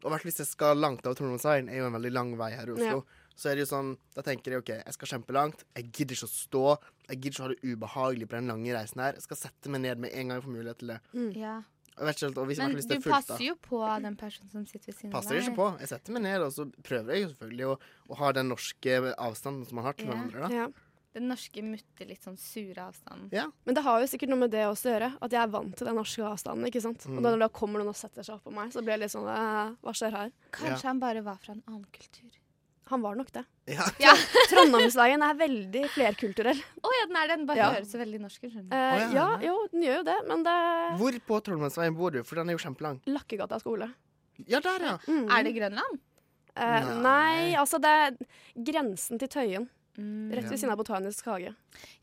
S9: og i hvert fall hvis jeg skal langt av Trondheimsveien, er jo en veldig lang vei her i Oslo, så er det jo sånn, da tenker jeg OK, jeg skal kjempelangt, jeg gidder ikke å stå, jeg gidder ikke å ha det ubehagelig på den lange reisen her, jeg skal sette meg ned med en gang jeg får mulighet til det.
S8: Mm.
S10: Ja.
S9: Jeg vet ikke helt, og hvis, i hvert
S10: Men
S9: fall hvis
S10: du
S9: det er fullt, da.
S10: passer jo på den personen som sitter ved siden av
S9: passer
S10: deg.
S9: jeg ikke på. Jeg setter meg ned, og så prøver jeg jo selvfølgelig å, å ha den norske avstanden som man har til
S10: Ja.
S9: hverandre.
S8: Ja.
S10: Den norske mutter litt sånn sure avstanden.
S8: Men det har jo sikkert noe med det også å gjøre, at jeg er vant til den norske avstanden. ikke sant? Og da, når da kommer noen og setter seg oppå meg, så blir jeg litt sånn eh, Hva skjer her?
S10: Kanskje han bare var fra en annen kultur.
S8: Han var nok det.
S9: da. Ja.
S8: Trondheimsveien er veldig flerkulturell.
S10: Å ja, den er det. Den bare
S8: Ja.
S10: høres så veldig norsk ut. skjønner du.
S8: Eh, ja,
S9: Å, ja.
S8: jo, den gjør jo det, men det er
S9: Hvor på Trollmannsveien bor du? For den er jo kjempelang.
S8: Lakkegata skole.
S9: Ja, der, ja.
S8: Mm.
S10: Er det Grønland?
S8: Eh,
S9: Nei.
S8: nei, altså det er grensen til Tøyen. Rett
S10: Ja.
S8: ved siden av Botanisk hage.
S10: Mm.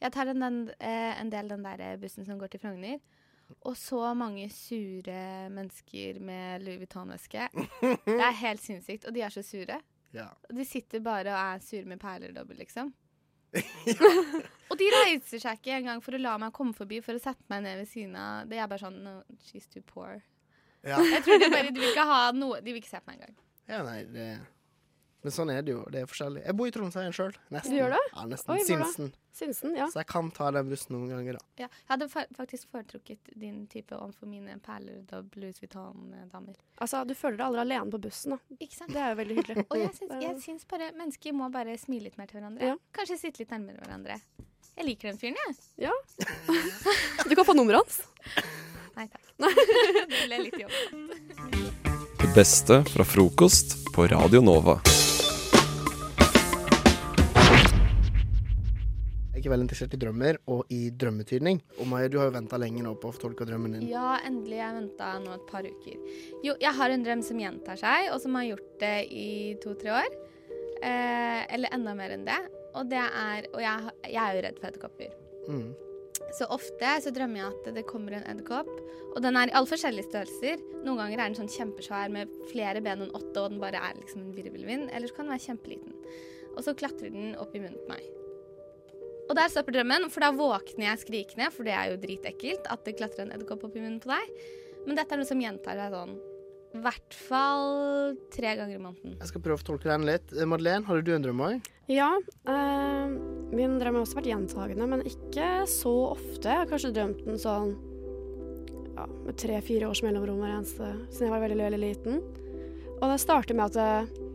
S10: Jeg tar en, den, eh, en del den der eh, bussen som går til Frogner. Og så mange sure mennesker med Louis Vuitton-veske. Det er helt sinnssykt. Og de er så sure.
S9: Ja.
S10: Og de sitter bare og er sure med perledobbel, liksom. og de reiser seg ikke engang for å la meg komme forbi for å sette meg ned ved siden av. Det er bare sånn no, She's too poor.
S9: Ja.
S10: Jeg tror de bare de vil ikke ha noe De vil ikke se på meg engang.
S9: ja nei, det Men sånn er det jo. Det er forskjellig. Jeg bor i Trondheimsveien sjøl. Nesten.
S8: Du gjør det?
S9: Ja, nesten.
S8: Oi, hvor da?
S9: Sinsen.
S8: Sinsen, ja.
S9: Så jeg kan ta den bussen noen ganger, da.
S10: Ja, jeg hadde fa- faktisk foretrukket din type overfor mine perledobbel Louis Vuitton-damer.
S8: Altså, du føler deg aldri alene på bussen, da.
S10: Ikke sant?
S8: Det er jo veldig hyggelig. Eh.
S10: Og jeg syns, jeg syns bare mennesker må bare smile litt mer til hverandre.
S8: Ja.
S10: Kanskje sitte litt nærmere hverandre. Jeg liker den fyren, jeg.
S8: Du kan få nummeret hans.
S10: Nei takk. det ble litt jobb.
S1: Det beste fra frokost på Radio Nova.
S9: Jeg er veldig interessert i drømmer, og i drømmetydning. Og Maja, du har jo venta lenge nå på å få tolka drømmen din.
S10: Ja, endelig. Jeg venta nå et par uker. Jo, jeg har en drøm som gjentar seg, og som har gjort det i to-tre år. Eh, eller enda mer enn det. Og det er Og jeg, jeg er jo redd for edderkopper.
S9: Mm.
S10: Så ofte så drømmer jeg at det kommer en edderkopp, og den er i alle forskjellige størrelser. Noen ganger er den sånn kjempesvær med flere ben enn åtte, og den bare er liksom en virvelvind. Eller så kan den være kjempeliten. Og så klatrer den opp i munnen på meg. Og der stopper drømmen, for da våkner jeg skrikende, for det er jo dritekkelt at det klatrer en edderkopp opp i munnen på deg. Men dette er noe som gjentar seg sånn i hvert fall tre ganger i måneden.
S9: Jeg skal prøve å tolke den litt. Eh, Madeleine, hadde du en drøm òg?
S8: Ja. eh, min drøm har også vært gjentagende, men ikke så ofte. Jeg har kanskje drømt den sånn ja, med tre-fire års mellomrom hver eneste siden jeg var veldig, veldig liten. Og det starter med at det,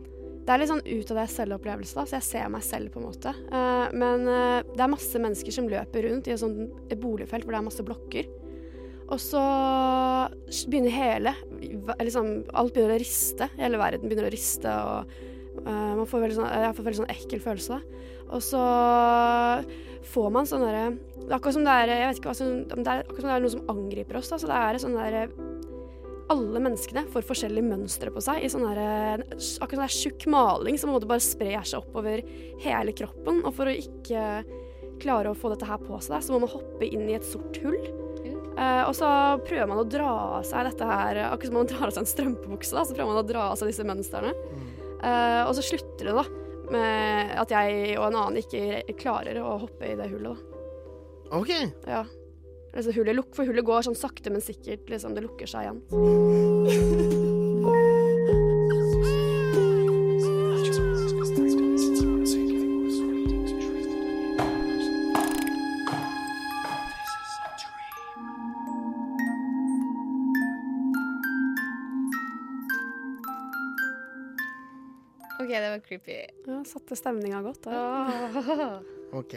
S8: det er litt sånn ut av deg selv-opplevelse, da, så jeg ser meg selv på en måte. Eh, men eh, det er masse mennesker som løper rundt i et sånt boligfelt hvor det er masse blokker. Og så begynner hele liksom, Alt begynner å riste. Hele verden begynner å riste, og eh, man får veldig sånn, jeg får veldig sånn ekkel følelse. da. Og så får man sånn derre det er Akkurat som det er jeg vet ikke hva som, om det er akkurat som det er noe som angriper oss. Da. Så det er sånn derre Alle menneskene får forskjellige mønstre på seg. i sånn derre- Akkurat som det er tjukk maling som på en måte bare sprer seg oppover hele kroppen. Og for å ikke klare å få dette her på seg, da, så må man hoppe inn i et sort hull. Eh, og så prøver man å dra av seg dette her Akkurat som man drar av seg en strømpebukse, da, så prøver man å dra av seg disse mønstrene. Eh, og så slutter det da med at jeg og en annen ikke re- klarer å hoppe i det hullet.
S9: OK.
S8: da. Ja. Altså, hullet luk for hullet går sånn sakte, men sikkert. Liksom, det lukker seg igjen.
S10: OK, det var creepy. Ah.
S8: Ja, satte stemninga godt. Der.
S9: OK.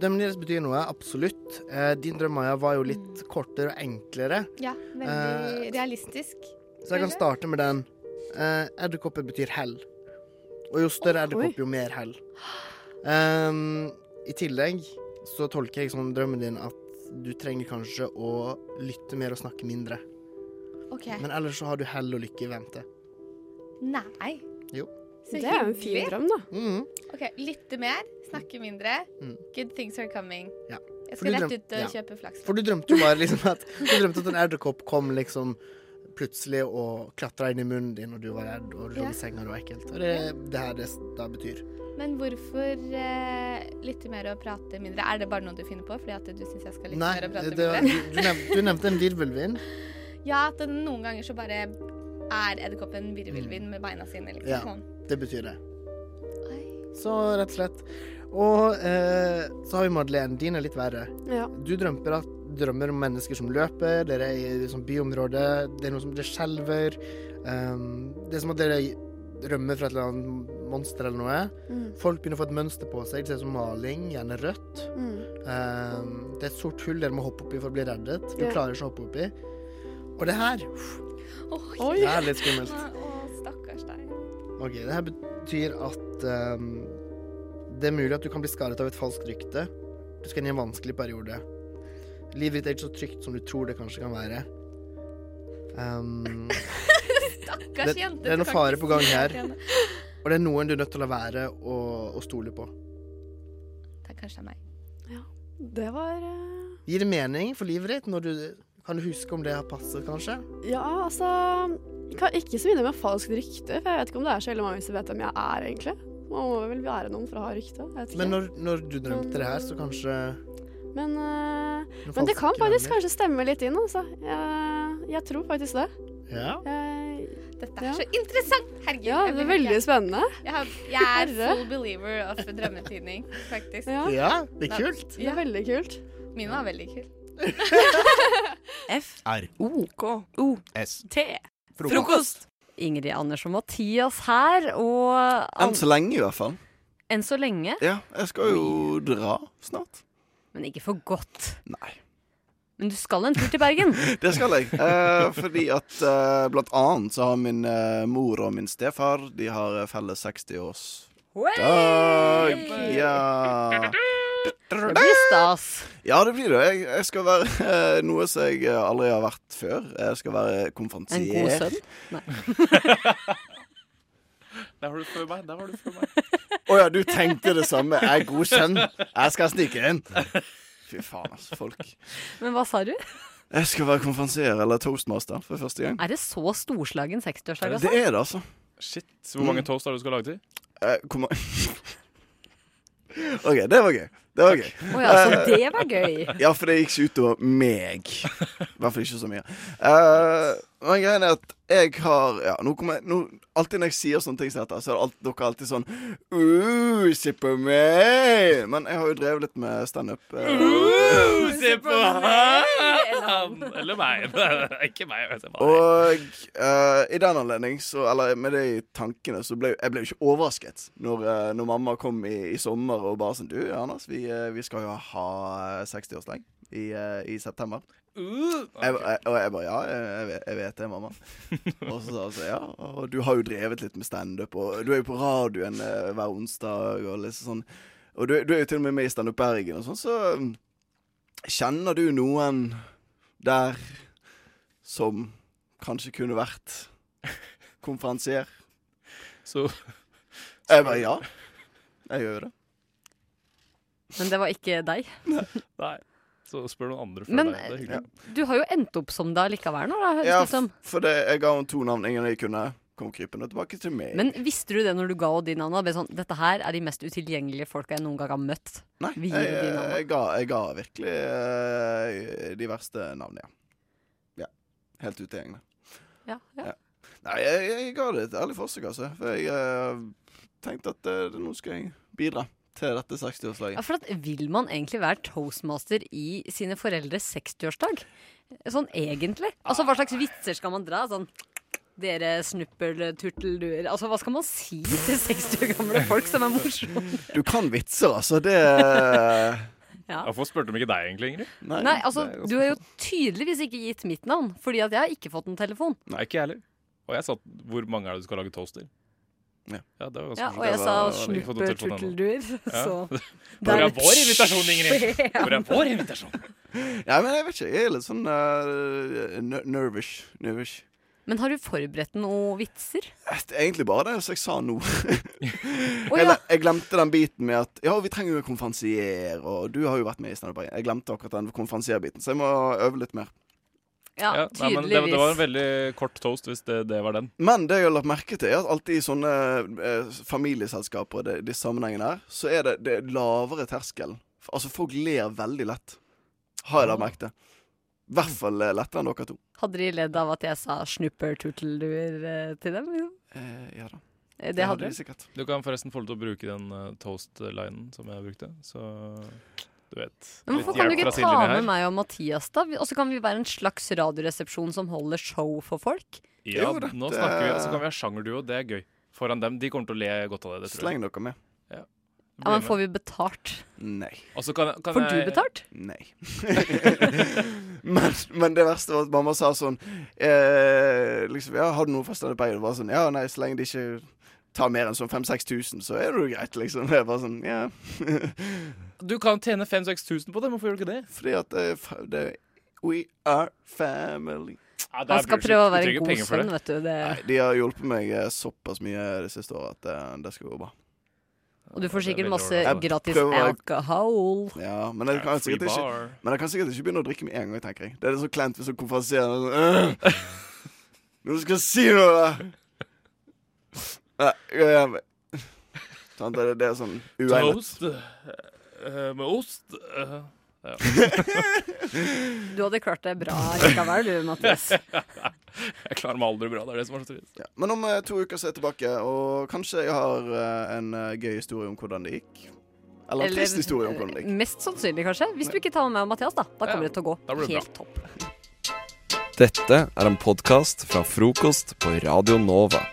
S9: Drømmen deres betyr noe, absolutt. Eh, din drøm, Maja, var jo
S8: Mm.
S9: litt kortere og enklere, Eh,
S10: Ja, veldig realistisk. Mhm.
S9: så jeg kan starte med den. Eh, edderkopper betyr hell. Og jo større edderkopp, jo mer hell. Ehm, I tillegg så tolker jeg sånn drømmen din at du trenger kanskje å lytte mer og snakke mindre.
S10: OK.
S9: Men ellers så har du hell og lykke i vente.
S10: Nei.
S9: Jo.
S10: Så
S8: Det er jo en
S10: hyggelig.
S8: fin drøm, da.
S9: Mhm.
S10: OK, lytte mer, snakke mindre.
S9: Mm.
S10: Good things are coming.
S9: Ja.
S10: Jeg
S9: For du
S10: skal rett
S9: drøm-
S10: ut og
S9: ja.
S10: kjøpe flaks.
S9: For du drømte jo bare liksom at Du drømte at en edderkopp kom liksom plutselig og klatra inn i munnen din, og du var redd, og du lå
S10: Ja.
S9: i senga, og det var ekkelt. Og det er det her det s- da betyr.
S10: Men hvorfor eh, lytte mer og prate mindre? Er det bare noe du finner på fordi at du syns jeg skal lytte
S9: Nei,
S10: mer og prate
S9: det, var-
S10: mindre?
S9: du, du, nevnte, du nevnte en virvelvind.
S10: Ja, at det noen ganger så bare er edderkoppen virvelvind med beina sine, liksom.
S9: Mm. Ja.
S10: Sånn.
S9: Det betyr det.
S10: Oi.
S9: Så rett og slett. Og eh, så har vi Madeleine. Din er litt verre.
S8: Ja.
S9: Du drømmer, at, drømmer om mennesker som løper, dere er i liksom, byområdet, det er noe som det skjelver. ehm, det er som at dere rømmer fra et eller annet monster eller noe.
S8: Mm.
S9: Folk begynner å få et mønster på seg, det ser ut som maling, gjerne rødt.
S8: Mm.
S9: Ehm, det er et sort hull dere må hoppe oppi for å bli reddet. Du
S8: Ja.
S9: klarer ikke å hoppe oppi. Og det her uff,
S10: Oi.
S9: Det er litt skummelt.
S10: Å, å, stakkars deg.
S9: Ok, det her betyr at ehm, det er mulig at du kan bli skadet av et falskt rykte. Du skal inn i en vanskelig periode. Livet ditt er ikke så trygt som du tror det kanskje kan være. Ehm,
S10: Stakkars
S9: Det-
S10: jente.
S9: det
S10: du
S9: er noe
S10: kan
S9: fare
S10: ikke
S9: på gang
S10: si
S9: her.
S10: det til henne.
S9: og det er noen du er nødt til å la være å, å stole på.
S10: Det er kanskje meg.
S8: Det var eh,
S9: Gir det mening for livet ditt? Når du, kan du huske om det har passet, kanskje?
S8: Ja, altså jeg kan Ikke så mye med falskt rykte, for jeg vet ikke om det er så veldig mange som vet hvem jeg er, egentlig. Man må vel være noen for å ha rykte. Jeg vet ikke.
S9: Men når, når du drømte det her, så kanskje
S8: Men, eh, men
S9: noen
S8: det
S9: falske
S8: kan faktisk
S9: drømmer?
S8: kanskje stemme litt inn, altså. Jeg, jeg tror faktisk det.
S9: Ja.
S8: Jeg,
S10: Dette er
S8: Ja.
S10: så interessant! Herregud.
S8: Sånn. ja,
S10: jeg
S8: det er
S10: blir
S8: veldig
S10: helt-
S8: spennende.
S10: jeg, har, jeg er
S8: Herre.
S10: full believer of drømmetydning, faktisk.
S8: Ja,
S9: ja, det er kult.
S8: det er veldig kult.
S10: Min var veldig kul.
S11: F.
S7: R.
S11: O. K. O.
S7: S.
S11: T.
S7: Frokost.
S11: Frokost! Ingrid Anders og Mathias her, og
S1: Enn så lenge, i hvert fall.
S11: enn så lenge,
S1: Ja, jeg skal jo dra snart.
S11: men ikke for godt.
S1: Nei.
S11: Men du skal en tur til Bergen.
S1: Det skal jeg. Eh, fordi at eh, blant annet så har min eh, mor og min stefar De har eh, felles 60-årsdag. Ja.
S11: Det blir stas.
S1: ja, det blir det. Jeg, jeg skal være eh, noe som jeg eh, aldri har vært før. Jeg skal være
S11: En god
S1: konferansier.
S11: sønn.
S7: Der var du før meg. Der var du før meg.
S1: Å ja, du tenkte det samme. Jeg er god sønn. Jeg skal snike inn. Fy faen, altså. Folk.
S11: Men hva sa du?
S1: Jeg skal være konferansier eller toastmaster for første gang.
S11: Er det så storslagen 60-årsdag,
S1: Det
S11: altså?
S1: er det, altså. Mm.
S7: Shit. Hvor mange toast har du skal lage til?
S1: Eh, hvor ma- OK, det var gøy. Det var gøy. Eh,
S11: Å ja, så det var gøy.
S1: Ja, for det gikk ikke utover meg. I hvert fall ikke så mye. Eh, men greia er at jeg har ja, nå kommer jeg, nå, Alltid når jeg sier sånne ting som dette, så er det alt, dere alltid sånn uh, Se på meg! Men jeg har jo drevet litt med standup. Uh,
S7: Se på han! Eller meg. Ikke meg.
S1: og eh, i den anledning, så, eller med de tankene, så ble jeg ble jo ikke overrasket når, eh, når mamma kom i, i sommer og bare sånn Du, Anders, vi, eh, vi skal jo ha eh, 60-årsdag i, eh, i september.
S6: Uh.
S1: Jeg, jeg, og jeg bare Ja, jeg, jeg, vet, jeg vet det, mamma. Og så sa hun så, ja, og du har jo drevet litt med standup, og du er jo på radioen eh, hver onsdag, og liksom sånn. Og du, du er jo til og med med i Standup Bergen og sånn, så mm, kjenner du noen der som kanskje kunne vært konferansier?
S7: Så
S1: Jeg bare ja. Jeg gjør jo det.
S11: Men det var ikke deg.
S7: Nei. Så spør noen andre
S11: Men-
S7: før deg. Det er hyggelig.
S11: Du har jo endt opp som det allikevel nå, da, høres
S1: Ja,
S11: det ut som.
S1: for det, jeg ga henne to navn ingen jeg kunne. Kom krypende tilbake til meg.
S11: Men visste du det når du ga henne de navnene? Ble Sånn, Dette her er de mest utilgjengelige folka jeg noen gang har møtt.
S1: Nei, eh,
S11: Vi
S1: jeg,
S11: gir jo de navnene.
S1: jeg, ga, jeg ga virkelig eh, de verste navnene, ja. ja. Helt ute i gjengene.
S11: Ja, ja.
S1: Nei, jeg, jeg ga det et ærlig forsøk, altså. For jeg eh, tenkte at eh, nå skal jeg bidra til dette 60-årslaget.
S11: ja, for at vil man egentlig være toastmaster i sine foreldres 60-årsdag? Sånn egentlig. Altså, hva slags vitser skal man dra? Sånn Dere snuppelturtelduer. Altså, hva skal man si til 60 år gamle folk som er morsomme?
S1: Du kan vitser, altså. Det
S7: eh,
S11: Ja.
S7: Hvorfor spurte de ikke deg egentlig, Ingrid?
S11: Nei, altså, du har jo tydeligvis ikke gitt mitt navn, fordi at jeg har ikke fått en telefon.
S7: Nei, ikke jeg heller. Og jeg sa hvor mange er det du skal lage toast til? Ja, det var ganske
S11: Ja, og
S7: sjukt.
S11: jeg sa
S7: var- jeg har ikke fått noen telefon ennå.
S11: snupperturtelduer,
S7: Ja.
S11: så
S7: Hvor
S11: der-
S7: er vår invitasjon, Ingrid? Hvor er vår invitasjon?
S1: Nei, men jeg vet ikke. Jeg er litt sånn eh, ner- nervous. nervous.
S11: Men har du forberedt noen vitser?
S1: Det er egentlig bare det som jeg sa nå.
S11: Å,
S1: jeg,
S11: ja.
S1: jeg glemte den biten med at Ja, vi trenger jo en konferansier, og du har jo vært med i Standup Bergen. Jeg glemte akkurat den konferansierbiten, så jeg må øve litt mer.
S11: Ja,
S7: nei, men det, det var en veldig eh, kort toast hvis det, det var den.
S1: Men det jeg har lagt merke til, er at alltid i sånne eh, familieselskaper og de, de sammenhengene her, så er det, det er lavere terskel. F- Altså, folk ler veldig lett. Har jeg lagt merke til. I hvert fall eh, lettere enn dere to.
S11: Hadde de ledd av at jeg sa snupperturtelduer eh, til dem? liksom?
S1: ja da.
S11: Eh, Det hadde de.
S1: sikkert.
S7: Du kan forresten få lov til å bruke den eh, toast-linen som jeg brukte, så du vet.
S11: Men
S7: Litt
S11: hvorfor kan du
S7: hjelp
S11: ikke
S7: fra
S11: ta
S7: sidelinja her.
S11: med meg og Mathias, da? Vi- Og så kan vi være en slags radioresepsjon som holder show for folk.
S7: Ja, nå snakker vi, og så kan vi ha sjangerduo. Det er gøy. Foran dem. De kommer til å le godt av det. det tror jeg.
S1: Sleng dere med.
S7: Ja.
S11: Ja, men får vi betalt?
S1: Nei.
S7: Og så kan, kan
S11: Får du
S7: jeg-
S11: betalt?
S1: Nei. men, men det verste var at mamma sa sånn eh, liksom, Ja, har du noe fra Standup Bergen? Det var sånn Ja, nei, så lenge de ikke tar mer enn sånn 5000-6000, så er det jo greit, liksom. Jeg bare sånn Ja.
S7: Du kan tjene 5000-6000 på det, men hvorfor gjør du ikke det?
S1: Fordi at det, er fa- det er- We are family.
S7: Ja,
S11: Han skal prøve å være en god sønn, vet du. Det.
S1: Nei, de har hjulpet meg eh, såpass mye det siste året at eh, det, det skal gå bra.
S11: Og du får
S1: det er
S11: sikkert masse
S1: veldig
S11: gratis
S1: Jeg prøver å-
S11: alkohol.
S1: Ja, men jeg kan,
S7: free
S1: sikkert ikke,
S7: bar.
S1: men jeg kan sikkert ikke begynne å drikke med en gang, tenker jeg. Det er litt så kleint hvis du konferansierer sånn «Øh, Når du skal si noe, da! Nei, gå hjem. Sant, det, er- det er sånn uegnet.
S7: Toast eh, med ost. eh, ja.
S11: Du hadde klart det bra likevel, du, Mathias.
S7: jeg klarer meg aldri bra. Det er det som er så trist.
S1: Men om eh, to uker så er jeg tilbake, og kanskje jeg har eh, en eh, gøy historie om hvordan det gikk. Eller en trist historie om hvordan det gikk.
S11: Mest sannsynlig, kanskje. Hvis du ikke tar med meg og Mathias, da. Mm, Da kommer det til å gå
S7: blir det
S11: helt topp.
S12: Dette er en podkast fra frokost på Radio Nova.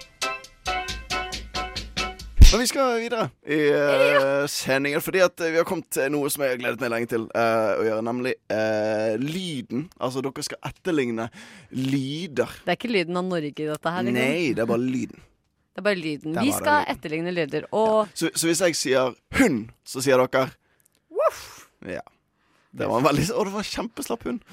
S1: Men vi skal videre i eh, sendingen, fordi at eh, vi har kommet til noe som jeg har gledet meg lenge til eh, å gjøre, nemlig eh, lyden. Altså, dere skal etterligne lyder.
S11: Det er ikke lyden av Norge, dette her. Liksom.
S1: Nei, det er bare lyden.
S11: Det er bare lyden.
S1: Det er
S11: Vi
S1: bare
S11: skal etterligne lyder. Og
S1: Så, så hvis jeg sier hund, så sier dere Ja. Det var en veldig Å, det var en kjempeslapp hund.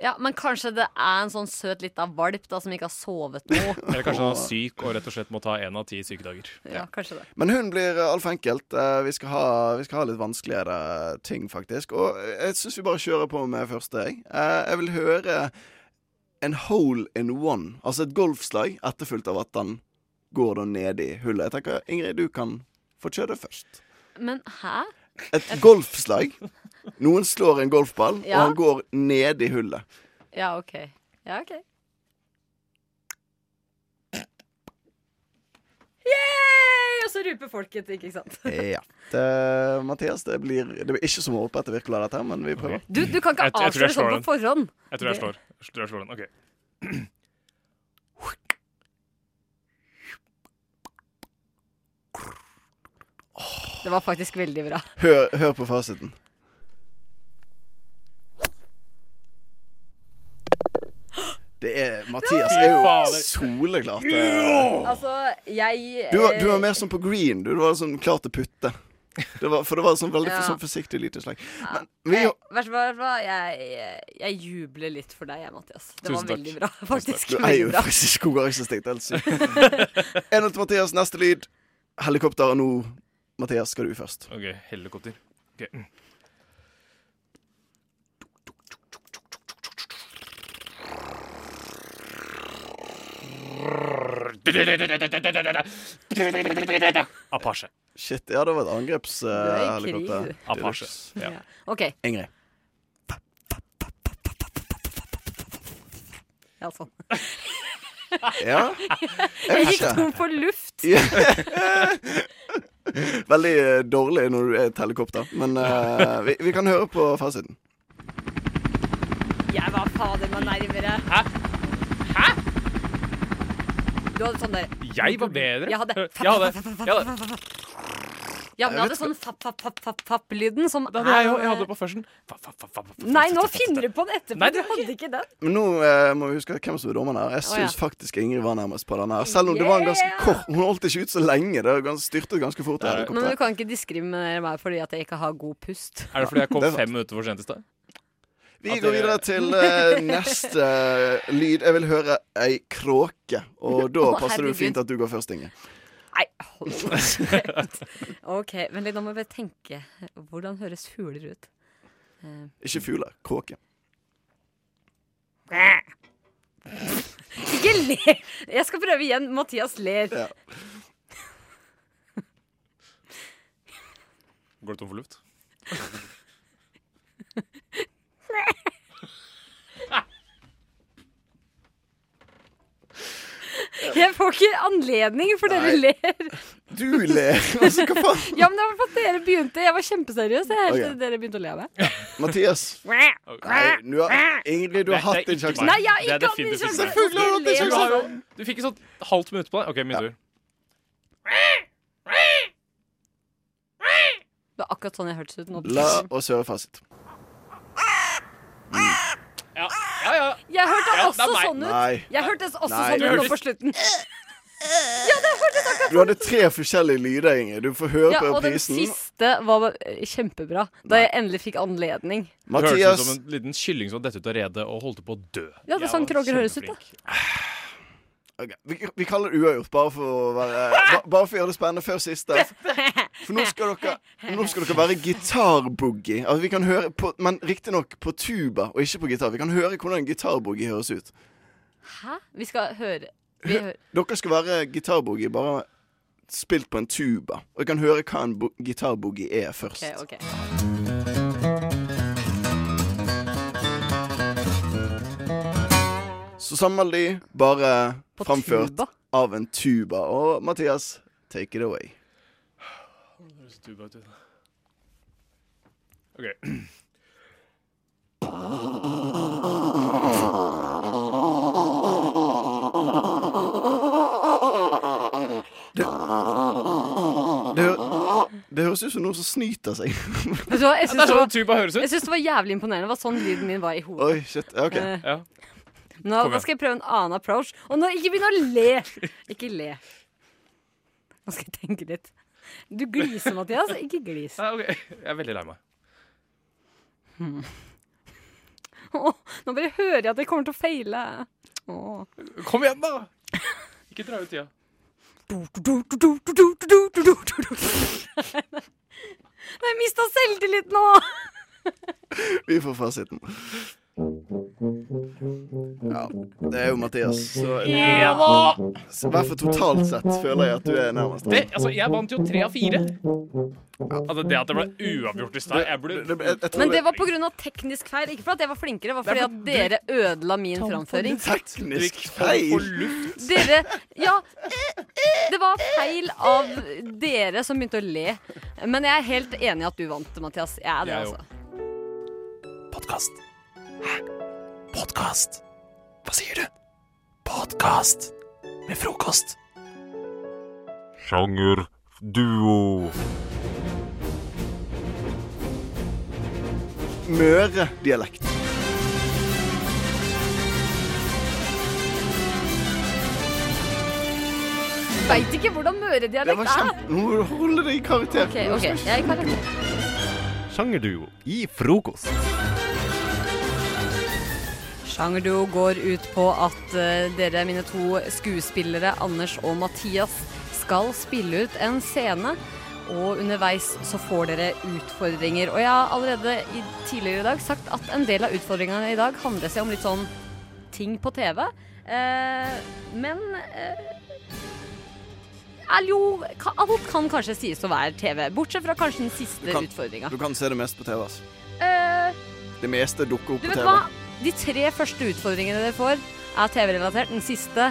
S11: ja, men kanskje det er en sånn søt lita valp da som ikke har sovet noe.
S7: Eller kanskje han er syk og rett og slett må ta én av ti sykedager.
S11: Ja, kanskje det.
S1: Men hund blir eh, altfor enkelt. Eh, vi, skal ha, vi skal ha litt vanskeligere ting, faktisk. Og eh, jeg syns vi bare kjører på med første, jeg. Eh, jeg vil høre en hole in one. Altså et golfslag etterfulgt av at den går da ned i hullet. Jeg tenker, Ingrid, du kan få kjøre det først.
S11: Men hæ?
S1: Et golfslag. Noen slår en golfball, og
S11: Ja.
S1: han går ned i hullet.
S11: Ja, OK. Ja, OK. Yay! Og så ruper folket, ikke sant?
S1: Ja. Det, Mathias, det blir, det blir ikke som håpet det virker, dette her, men vi prøver.
S11: Du, du kan ikke
S7: Jeg- jeg tror jeg
S11: avsløre sånn
S7: slår
S11: på forhånd.
S7: Jeg tror jeg
S11: Det-
S7: slår. Jeg tror jeg slår den. OK.
S11: Det var faktisk veldig bra.
S1: Hør, hør på fasiten. Det er Mathias er jo soleklart. eh.
S11: Altså, jeg eh,
S1: Du var, du var mer sånn på green. Du, du var sånn klar til å putte. Det var, for det var sånn veldig
S11: Ja.
S1: sånn forsiktig lite slag. Men vi,
S11: Vær så hva, hva, jeg, jeg jubler litt for deg, jeg, Mathias. Det var veldig bra, faktisk.
S1: Du er
S11: veldig
S1: jo
S11: bra.
S1: faktisk konkurransestekt, helt sykt. En til Mathias, neste lyd. Helikopter, og nå, Mathias, skal du først.
S7: Ok, Helikopter. Ok. Mm. Apache.
S1: Shit, ja, det var et
S11: Du er i krig, du.
S1: angrepshelikopter.
S7: Apache, ja.
S11: OK.
S1: Ingrid.
S11: Ja, sånn.
S1: Ja.
S11: Jeg gikk tom for luft.
S1: Ja. Veldig eh, dårlig når du er et helikopter, men eh, vi, vi kan høre på fasiten.
S11: Jeg var fader meg nærmere.
S7: Hæ?
S11: Hæ? Du hadde sånn der
S7: Jeg var bedre.
S11: Jeg hadde
S7: Jeg hadde- jeg
S11: Ja, men
S7: hadde-
S11: jeg hadde
S7: Jeg vet-
S11: sånn fapp-fapp-fapp-fapp-lyden som
S7: Det hadde jeg jo- jeg
S11: er-
S7: hadde på førsten.
S11: Nei, nå finner du på den etterpå.
S7: Nei,
S11: du hadde ikke den.
S1: Men nå eh, må vi huske hvem som er dommeren her. Jeg
S11: Å,
S1: syns
S11: ja.
S1: faktisk Ingrid var nærmest på den her. Selv om det var en ganske
S11: Yeah!
S1: kort Hun holdt ikke ut så lenge. Det var gans- styrtet ganske fort. det
S11: Men du
S1: helikopteret.
S11: kan ikke diskriminere meg fordi at jeg ikke har god pust.
S7: Er det fordi jeg kom
S1: Det er sant.
S7: fem minutter for sent i stad?
S1: Vi går videre til eh, neste eh, lyd. Jeg vil høre ei kråke. Og da
S11: Å,
S1: passer det
S11: herregud.
S1: jo fint at du går først, Inge.
S11: Nei, hold kjeft. OK, men litt, nå må jeg bare tenke. Hvordan høres fugler ut? Eh,
S1: Ikke fugler. Kråke.
S11: Ikke le! Jeg skal prøve igjen. Mathias ler.
S7: Går du tom for luft?
S11: Jeg får ikke anledning, for dere ler.
S1: Du ler. Altså, hva faen?
S11: Ja, men det var for at dere begynte. Jeg var kjempeseriøs jeg, helt
S1: Ok.
S11: til dere begynte å le av meg.
S1: Mathias. Nei, du har, Ingrid, du
S7: Nei, det
S1: har hatt
S7: er
S1: en
S7: ikke
S1: sjanse.
S11: Nei, jeg har
S7: Det er
S11: ikke hatt min
S7: definitivt
S11: sjanse.
S7: ikke.
S11: Selvfølgelig har du hatt din
S7: Du
S11: sjanse.
S7: har jo- Du fikk et sånt halvt minutt på deg. OK, min tur.
S11: Det var akkurat sånn jeg hørtes ut nå.
S1: La oss høre fasit.
S7: Ja, ja. ja.
S11: Jeg hørte
S7: Ja, det
S11: også
S7: er meg.
S11: sånn ut.
S1: Nei.
S11: Jeg hørtes også
S1: Nei.
S11: sånn
S1: Du
S11: ut nå
S1: hørtes-
S11: på slutten. Ja, det hørtes akkurat
S1: Du hadde tre forskjellige lyder, Ingrid. Du får høre
S11: Ja,
S1: på
S11: og den
S1: reprisen.
S11: siste var eh, kjempebra. Da jeg endelig fikk anledning.
S7: Det hørtes ut som en liten kylling som hadde dett ut av redet og holdt på å dø.
S11: Ja, det er
S7: Jeg
S11: sånn
S7: var
S11: kråker høres ut,
S7: kjempeflink.
S11: da.
S1: Ok, Vi, vi kaller det uavgjort, bare for å være ba- Bare for å gjøre det spennende før siste. For nå skal dere, nå skal dere være gitarboogie. Altså, vi kan høre på, men riktignok på tuba og ikke på gitar. Vi kan høre hvordan gitarboogie høres ut.
S11: Hæ? Vi skal høre Vi hører
S1: Dere skal være gitarboogie, bare spilt på en tuba. Og vi kan høre hva en bo- gitarboogie er først.
S11: OK. ok
S1: Så samme lyd, bare
S11: På
S1: framført
S11: tuba?
S1: av en tuba. Og Mathias, take it away.
S7: sånn Det høres tuba ut. OK.
S1: Det, det, hø- det høres ut som noen som snyter seg.
S11: Vet du hva, jeg
S7: Ja, det er
S11: syns det,
S7: sånn
S11: var-
S7: tuba høres ut.
S11: jeg syns det var jævlig imponerende. Det var sånn lyden min var i hodet.
S1: Oi, shit. Ja, OK.
S11: Eh,
S7: Ja.
S11: Nå,
S7: Kom
S11: nå
S7: igjen.
S11: skal jeg prøve en annen approach. Og nå, ikke begynn å le! Ikke le. Nå skal jeg tenke litt. Du gliser, Mathias. Ikke glis.
S7: Ja, ok. Jeg er veldig lei meg. Hmm.
S11: Åh, nå bare hører jeg at jeg kommer til å feile. Åh.
S7: Kom igjen, da! Ikke dra ut tida.
S11: Nå har jeg mista selvtillit nå!
S1: Vi får fasiten. Ja, det er jo Mathias, så
S7: Eva!
S1: Så I hvert fall totalt sett føler jeg at du er nærmest.
S7: Ah! Det, altså, jeg vant jo tre av fire. Altså, det at det ble uavgjort i stad Jeg ble
S11: Men det var pga. teknisk feil. Ikke fordi at jeg var flinkere, det var fordi at dere ødela min framføring.
S1: Teknisk
S7: Tom for
S1: feil!
S7: luft.
S11: Dere Ja, det var feil av dere som begynte å le. Men jeg er helt enig i at du vant, Mathias. Jeg er det,
S7: Jeg
S11: altså.
S12: Podkast. Hæ? Podkast? Hva sier du? Podkast med frokost.
S13: Sjangerduo.
S1: Møre-dialekt.
S11: Veit ikke hvordan
S1: Det var
S11: møredialekt er.
S1: kjempe... Nå må du holde deg i karakter.
S11: OK, ok, jeg kan ikke
S13: Sjangerduo i frokost.
S11: Sjangerduo går ut på at eh, dere, mine to skuespillere, Anders og Mathias, skal spille ut en scene. Og underveis så får dere utfordringer. Og jeg har allerede i, tidligere i dag sagt at en del av utfordringene i dag handler seg om litt sånn ting på TV. Eh, men eh, er jo, ka, alt kan kanskje sies å være TV, bortsett fra kanskje den
S1: Du
S11: siste
S1: kan,
S11: utfordringa.
S1: du kan se det mest på TV. ass.
S11: Eh,
S1: Det meste dukker
S11: du
S1: opp på
S11: vet
S1: TV.
S11: hva? De tre første utfordringene dere får, er TV-relatert. Den siste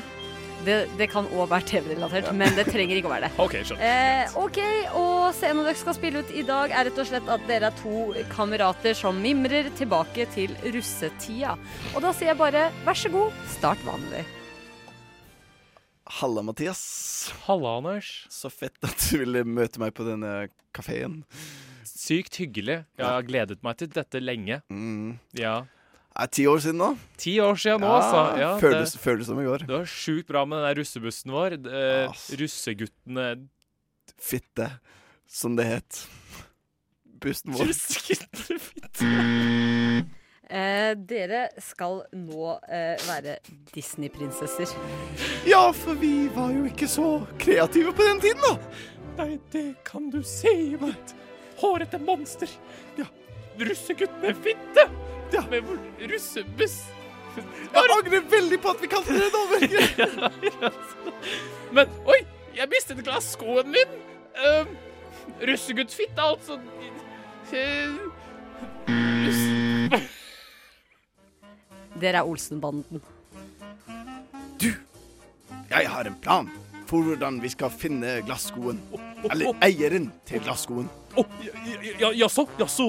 S11: det, det kan òg være TV-relatert, men det trenger ikke å være det.
S7: OK, skjønner.
S11: Eh, OK, og scenen dere skal spille ut i dag, er rett og slett at dere er to kamerater som mimrer tilbake til russetida. Og da sier jeg bare vær så god, start vanlig.
S1: Halla, Mathias.
S14: Halla, Anders.
S1: Så fett at du ville møte meg på denne kafeen.
S14: Sykt hyggelig. Jeg har gledet meg til dette lenge. Ja.
S1: Det Mm. er ti år siden nå.
S14: Ti år siden nå,
S1: Ja,
S14: altså. Ja,
S1: Ah, føles- føles som i går.
S14: Det var sjukt bra med den der russebussen vår. Eh, russeguttene
S1: Fitte, som det het. Bussen vår.
S11: Eh, dere skal nå eh, være Disney-prinsesser.
S1: Ja, for vi var jo ikke så kreative på den tiden, da.
S14: Nei, det kan du se i mitt hårete monster. Ja, russegutt med fitte. Ja. Med vår russebuss.
S1: Jeg angrer veldig på at vi kalte det dobbeltgrep.
S14: Men oi, jeg mistet et glass skoen min. Um, Russeguttfitte, altså. Eh,
S11: Dere er Olsenbanden.
S1: Jeg har en plan for hvordan vi skal finne glasskoen. Eller eieren til glasskoen.
S14: Ja, jaså? Jaså,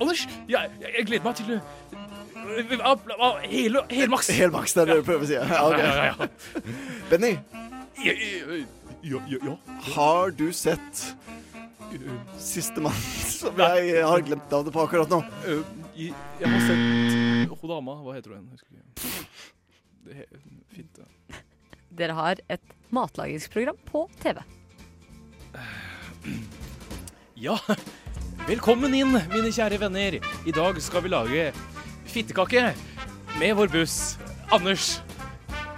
S14: Anders? Jeg, jeg, jeg gleder meg til eh, av- av hele, Helmaks.
S1: Helmaks, det er det du prøver å si. Ja, ok.
S14: Ja, ja, ja.
S1: Benny,
S14: Ja, ja, ja, ja, ja.
S1: har du sett Sistemann som jeg har glemt navnet på akkurat nå?
S14: Eh, i- Jeg har sett Hun dama, hva heter hun? Husker ikke. Det er fint, det.
S11: Dere har et matlagingsprogram på TV.
S14: Ja, velkommen inn, mine kjære venner. I dag skal vi lage fittekake med vår buss. Anders,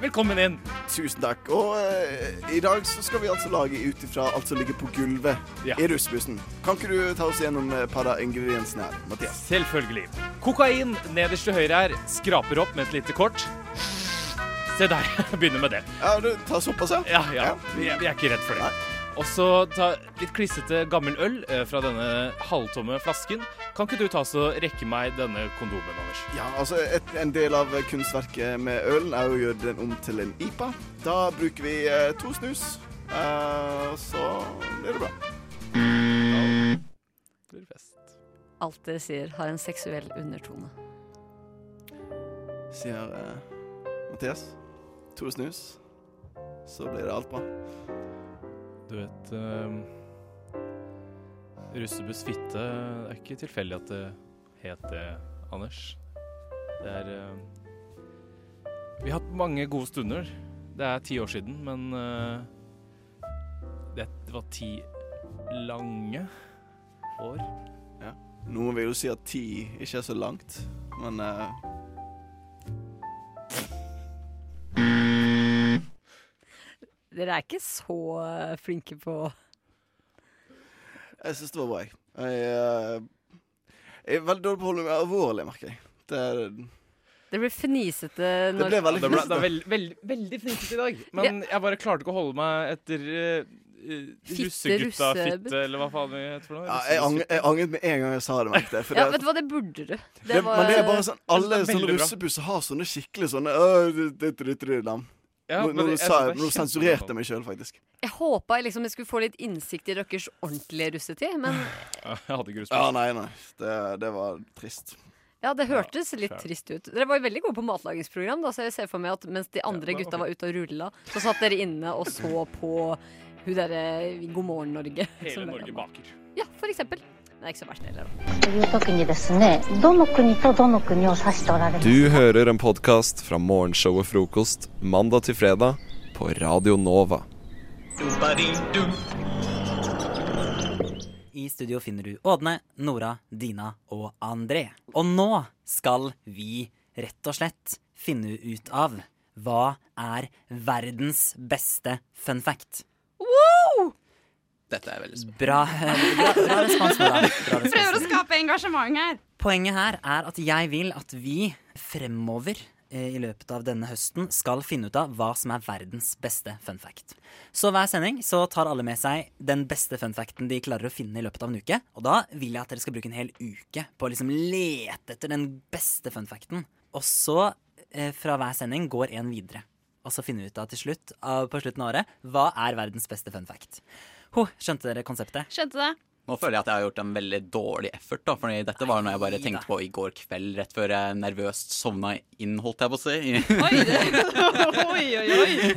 S14: velkommen inn.
S1: Tusen takk. Og eh, i dag så skal vi altså lage ut ifra alt som ligger på gulvet i russbussen. Kan ikke du ta oss gjennom eh, et par av ingrediensene her, Mathias?
S14: Selvfølgelig. Kokain nederst til høyre her. Skraper opp med et lite kort. Se der. Begynner med det.
S1: Ja, du tar såpass, ja?
S14: Ja, ja. Vi er, vi er ikke redd for det. Og så ta litt klissete gammel øl eh, fra denne halvtomme flasken. Kan ikke du ta så rekke meg denne kondomen, Anders?
S1: Ja, altså et, En del av kunstverket med ølen er jo å gjøre den om til en IPA. Da bruker vi eh, to snus, eh, så blir det bra.
S11: Alt dere sier, har en seksuell undertone.
S1: Sier eh, Mathias. To snus, så blir det alt bra.
S14: Du vet eh, Russebuss fitte Det er ikke tilfeldig at det het det, Anders. Det er eh, Vi har hatt mange gode stunder. Det er ti år siden, men eh, det var ti lange år.
S1: Ja. Noen vil jo si at ti ikke er så langt, men eh,
S11: Dere er ikke så eh, flinke på
S1: Jeg syns det var bra, jeg. Jeg, eh, jeg er veldig dårlig på å holde meg alvorlig, merker jeg. Det er
S11: Det blir fnisete
S1: Det
S11: når
S1: ble veldig
S14: Det ble, det
S1: fnisete.
S14: er veld, veld, veldig fnisete i dag, men jeg bare klarte ikke å holde meg etter uh,
S11: Fitte,
S14: russegutta-fitte,
S11: russe-
S14: eller hva faen det heter. for noe.
S1: ja, jeg, angret, jeg angret med en gang jeg sa det, merket jeg. for
S11: Ja,
S1: det-
S11: vet du hva, det burde du. Det,
S1: Det,
S11: var-
S1: men det er bare sånn Alle
S14: Jeg synes det er
S1: sånne
S14: veldig bra.
S1: russebusser har sånne skikkelig sånne øh, det, det, det, det, det, lam.
S11: Ja,
S1: Nå,
S11: men
S1: nå,
S11: jeg
S1: sa,
S11: synes det er
S1: nå sensurerte jeg meg sjøl, faktisk.
S11: Jeg håpa jeg liksom jeg skulle få litt innsikt i deres ordentlige russetid, men
S14: Jeg hadde ikke
S1: Ja, nei, nei. Det, det var trist.
S11: ja, det hørtes litt
S1: skjært.
S11: trist ut. Dere var jo veldig gode på matlagingsprogram, da, så jeg ser for meg at mens de andre
S1: det var
S11: gutta var ute og rulla, så satt dere inne og så på hun derre God morgen, Norge.
S14: Hele
S11: som dere-
S14: Norge baker.
S11: Ja, for eksempel. Det er ikke så verst, det heller. da.
S15: という時にですねどの国とどの国を指しておられます
S12: Du hører en podkast fra morgenshowet Frokost mandag til fredag på Radio Nova.
S16: I studio finner du Ådne, Nora, Dina og André. Og nå skal vi rett og slett finne ut av hva er verdens beste fun fact.
S17: Wow!
S16: Dette er veldig spennende. Bra, eh, bra, bra respons, Nora. Bra respons.
S17: Prøver å skape engasjement her.
S16: Poenget her er at jeg vil at vi fremover eh, i løpet av denne høsten skal finne ut av hva som er verdens beste fun fact. Så hver sending så tar alle med seg den beste fun facten de klarer å finne i løpet av en uke. Og da vil jeg at dere skal bruke en hel uke på å liksom lete etter den beste fun facten. Og så, eh, fra hver sending, går en videre. Og så finner vi ut av til slutt, av- på slutten av året, hva er verdens beste fun fact. Ho, skjønte dere konseptet?
S17: Skjønte det.
S18: Nå føler jeg at jeg har gjort en veldig dårlig effort, da, fordi dette var noe jeg bare tenkte på i går kveld, rett før jeg nervøst sovna inn, holdt jeg på å si.
S17: Oi, oi, oi.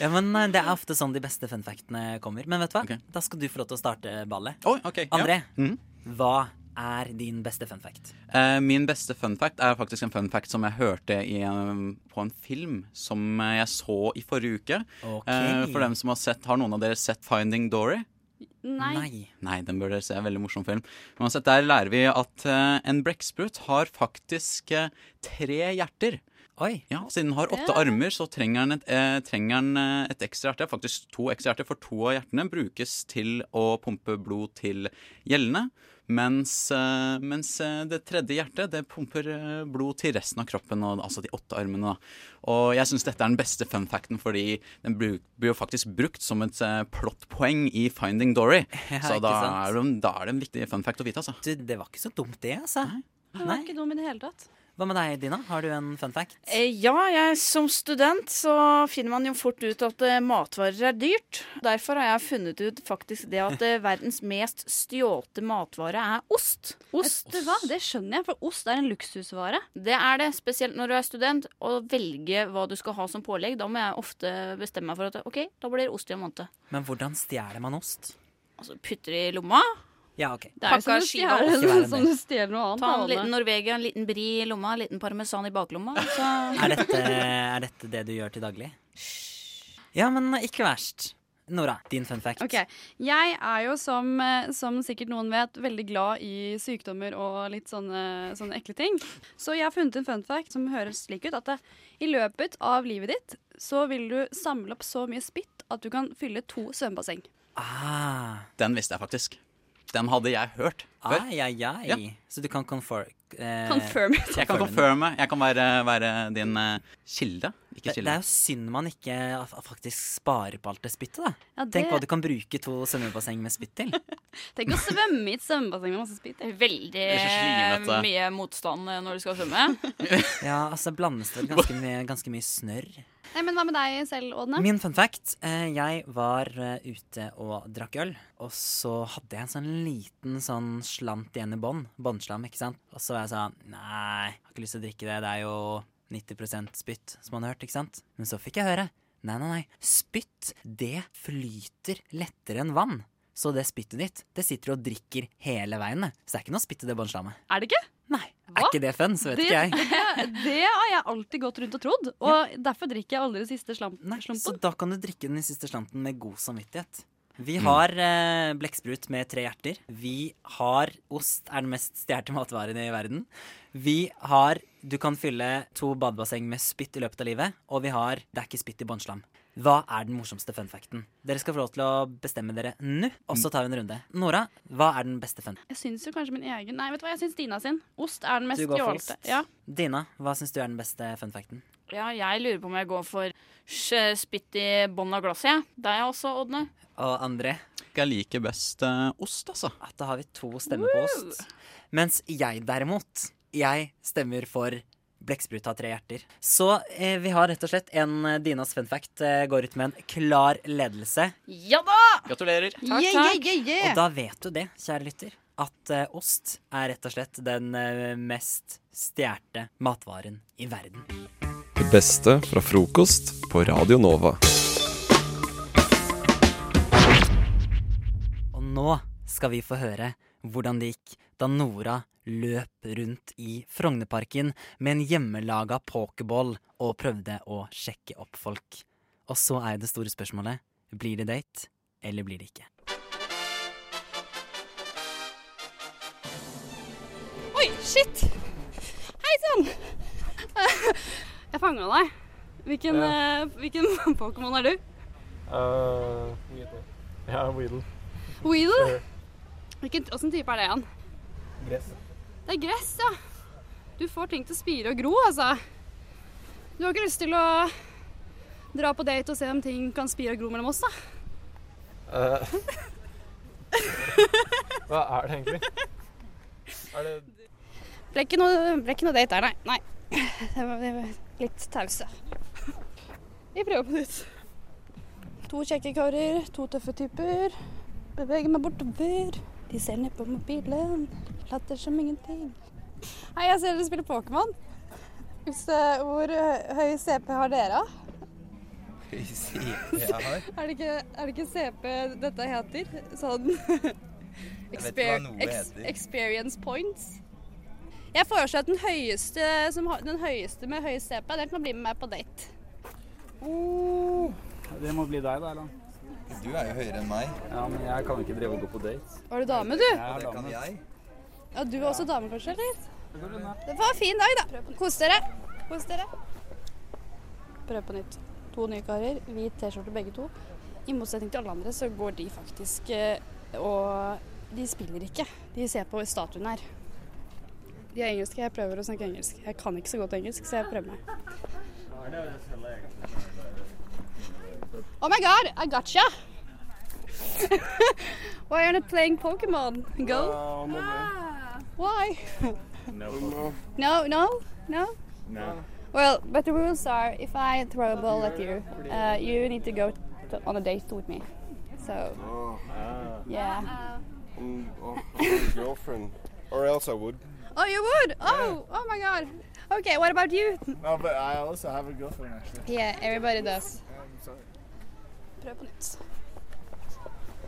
S16: Ja, men eh, Det er ofte sånn de beste fun factene kommer. Men vet du hva? Da skal du få lov til å starte ballet. André, hva er din beste fun fact?
S18: Mm. Eh, min beste fun fact er faktisk en fun fact som jeg hørte i, en- på en film som eh, jeg så i forrige uke.
S16: Ok.
S18: Eh, for dem som har sett, Har noen av dere sett 'Finding Dory'?
S17: Nei.
S18: Nei, den bør dere se. Veldig morsom film. Uansett, der lærer vi at eh, en blekksprut har faktisk eh, tre hjerter.
S16: Oi.
S18: Ja, Siden den har åtte
S16: Ja.
S18: armer, så trenger den, et, eh, trenger den eh, et ekstra hjerte. Faktisk to ekstra hjerter, for to av hjertene brukes til å pumpe blod til gjellene. Mens, eh, mens eh, det tredje hjertet det pumper eh, blod til resten av kroppen, og, altså de åtte armene. Da. Og jeg syns dette er den beste fun facten, fordi den bru- blir jo faktisk brukt som et eh, plottpoeng i Finding Dory.
S16: Ja,
S18: så
S16: ikke
S18: da
S16: sant?
S18: er, det, da er det en viktig fun fact å vite, altså.
S16: Du, det var ikke så dumt det, altså.
S17: Det var ikke dum i det hele tatt.
S16: Hva med deg, Dina? Har du en fun fact?
S19: Eh, Ja, jeg, som student så finner man jo fort ut at eh, matvarer er dyrt. Derfor har jeg funnet ut faktisk det at eh, verdens mest stjålte matvare er ost.
S17: Ost, hva? Det skjønner jeg, for ost er en luksusvare.
S19: Det er det, spesielt når du er student, å velge hva du skal ha som pålegg. Da må jeg ofte bestemme meg for at ok, da blir det ost i en måned.
S16: Men hvordan stjeler man ost?
S19: Altså putter i lomma.
S16: Ja, ok.
S17: Det er jo som du
S19: skiva ost.
S17: stjeler-
S16: Ikke være
S17: som du stjeler noe annet.
S19: Ta en
S17: av det.
S19: liten Norvegia, en liten bri i lomma, en liten parmesan i baklomma. Så
S16: Er dette, er dette det du gjør til daglig? Ja, men ikke verst. Nora, din fun fact.
S17: Ok, Jeg er jo, som, eh, som sikkert noen vet, veldig glad i sykdommer og litt sånne, sånne ekle ting. Så jeg har funnet en fun fact som høres slik ut at det, i løpet av livet ditt så vil du samle opp så mye spytt at du kan fylle to svømmebasseng.
S16: Ah.
S18: Den visste jeg faktisk. Den hadde jeg hørt før.
S16: Ai, ai, ai.
S18: Ja.
S16: Ah, Så du kan confer... eh,
S17: Confirm.
S18: Jeg kan confirme. Jeg kan være, være din eh, kilde. Ikke
S16: Det, det
S18: kilde.
S16: er jo synd man ikke f- faktisk sparer på alt det spyttet, da.
S17: Ja, det-
S16: Tenk hva du kan bruke to svømmebasseng med spytt til.
S17: Tenk å svømme i et svømmebasseng med masse spytt.
S19: Veldig
S16: er så slimete.
S19: mye motstand eh, når du skal svømme.
S16: Ja, altså blandes det ganske mye, ganske mye snørr.
S17: Nei, men Hva med deg selv, Ådne?
S16: Min fun fact. eh, Jeg var eh, ute og drakk øl. Og så hadde jeg en sånn liten sånn slant igjen i bånn. Båndslam, ikke sant. Og så var jeg sånn Nei, jeg har ikke lyst til å drikke det. Det er jo 90 spytt, som man har hørt, ikke sant. Men så fikk jeg høre. Nei, nei, nei. Spytt, det flyter lettere enn vann. Så det spyttet ditt, det sitter du og drikker hele veien. det. Så det er ikke noe spytt i det båndslammet.
S17: Er det ikke?
S16: Er ikke det fun, så vet
S17: det,
S16: ikke jeg.
S17: det, det har jeg alltid gått rundt og trodd, og derfor drikker jeg aldri det siste slam
S16: Så
S17: slumpen.
S16: da kan du drikke den siste slanten med god samvittighet. Vi har eh, blekksprut med tre hjerter. Vi har ost, er den mest stjålne matvaren i verden. Vi har Du kan fylle to badebasseng med spytt i løpet av livet. Og vi har Det er ikke spytt i båndslam. Hva er den morsomste fun facten? Dere skal få lov til å bestemme dere nå, og så tar vi en runde. Nora, hva er den beste fun?
S17: Jeg syns jo kanskje min egen Nei, vet du hva, jeg syns Dina sin. Ost er den mest
S16: Du går for
S17: jålete.
S16: ost.
S17: Ja.
S16: Dina, hva syns du er den beste fun facten?
S19: Ja, jeg lurer på om jeg går for sj- spytt i bånn av glasset, jeg. Det er jeg også, Ådne.
S16: Og André?
S18: Jeg liker best eh, ost, altså.
S16: At da har vi to stemmer på ost. Mens jeg derimot, jeg stemmer for Blekksprut har tre hjerter. Så eh, vi har rett og slett en eh, Dinas fun fact eh, går ut med en klar ledelse.
S19: Ja da!
S18: Gratulerer.
S19: Takk, Yeah, takk. yeah, yeah, yeah.
S16: Og da vet du det, kjære lytter, at eh, ost er rett og slett den eh, mest stjålne matvaren i verden.
S12: Det beste fra frokost på Radio Nova.
S16: Og nå skal vi få høre hvordan det gikk da Nora løp rundt i Frognerparken med en hjemmelaga pokerball og prøvde å sjekke opp folk. Og så er jo det store spørsmålet blir det date, eller blir det ikke?
S17: Oi, shit! Hei sann! Jeg fanga deg. Hvilken,
S20: Ja.
S17: eh, hvilken Pokémon er du?
S20: Uh, ja, Weedle.
S17: Weedle? Hvilken, hvordan type er det igjen?
S20: Gress.
S17: Det er gress, ja. Du får ting til å spire og gro, altså. Du har ikke lyst til å dra på date og se om ting kan spire og gro mellom oss, da?
S20: Uh, hva er det egentlig? Er det
S17: Ble ikke noe, ble ikke noe date der, nei. nei. Det var, det var litt tause. Vi prøver på nytt. To kjekke karer, to tøffe typer. Beveger meg bortover. De ser ned på mobilen. Later som ingenting. Hei, jeg ser dere spiller Pokémon. Hvis, eh, Hvor eh, høy CP har dere?
S21: Jeg
S17: Er det, ikke, er det ikke CP dette heter? Sånn
S21: ikke hva
S17: exper
S21: noe
S17: ex
S21: heter.
S17: Experience points. Jeg foreslår at den høyeste, som har, den høyeste med høyest CP, den kan bli med meg på date.
S14: Oh.
S22: Det må bli deg, da, Erland.
S21: Du er jo høyere enn meg.
S22: Ja, men jeg kan ikke drive og gå på dates.
S17: Var du dame, du?
S22: Ja, det kan jeg.
S17: Ja, du er også dame, kanskje? eller? Det var en fin dag, da. Kos dere. Kos dere. Prøv på nytt. To nye karer, hvit T-skjorte begge to. I motsetning til alle andre så går de faktisk eh, og De spiller ikke. De ser på statuen her. De er engelske, jeg prøver å snakke engelsk. Jeg kan ikke så godt engelsk, så jeg prøver meg. Oh my god, I gotcha! Why aren't you playing Pokemon Go? Why?
S2: No.
S17: No, no, no. Well, but the rules are if I throw a ball at you, uh, you need to go to, on a date with me. So, yeah.
S23: Mm, oh, I'm a girlfriend. Or else I would.
S17: Oh, you would? Oh, oh my god. Okay, what about you?
S23: No, but I also have a girlfriend, actually.
S17: Yeah, everybody does.
S23: I'm sorry.
S17: Prøv på nytt.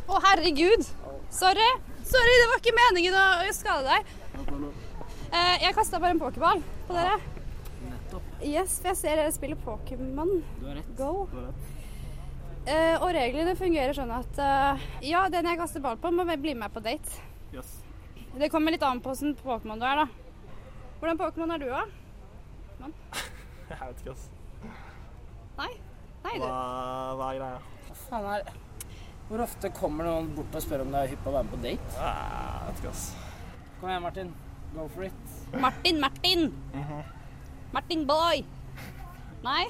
S17: Å, herregud! Sorry. Sorry, det var ikke meningen å å skade deg. Eh, jeg kasta bare en pokerball på dere. Yes, for jeg ser dere spiller Pokémon Go. Eh, og reglene fungerer sånn at eh, ja, den jeg kaster ball på, må vel bli med på date.
S23: Yes.
S17: Det kommer litt an på hvordan Pokémon du er, da. Hvordan Pokémon er du, da? Mann?
S20: Jeg vet ikke, ass.
S17: Nei? Nei, du.
S20: Hva, hva er greia?
S21: Hva faen er Hvor ofte kommer noen bort og spør om du er hypp på å være med på date?
S20: Jeg vet ikke, ass.
S21: Kom igjen, Martin. Go for it.
S17: Martin, Martin!
S20: Mhm.
S17: Martin Boy! Nei.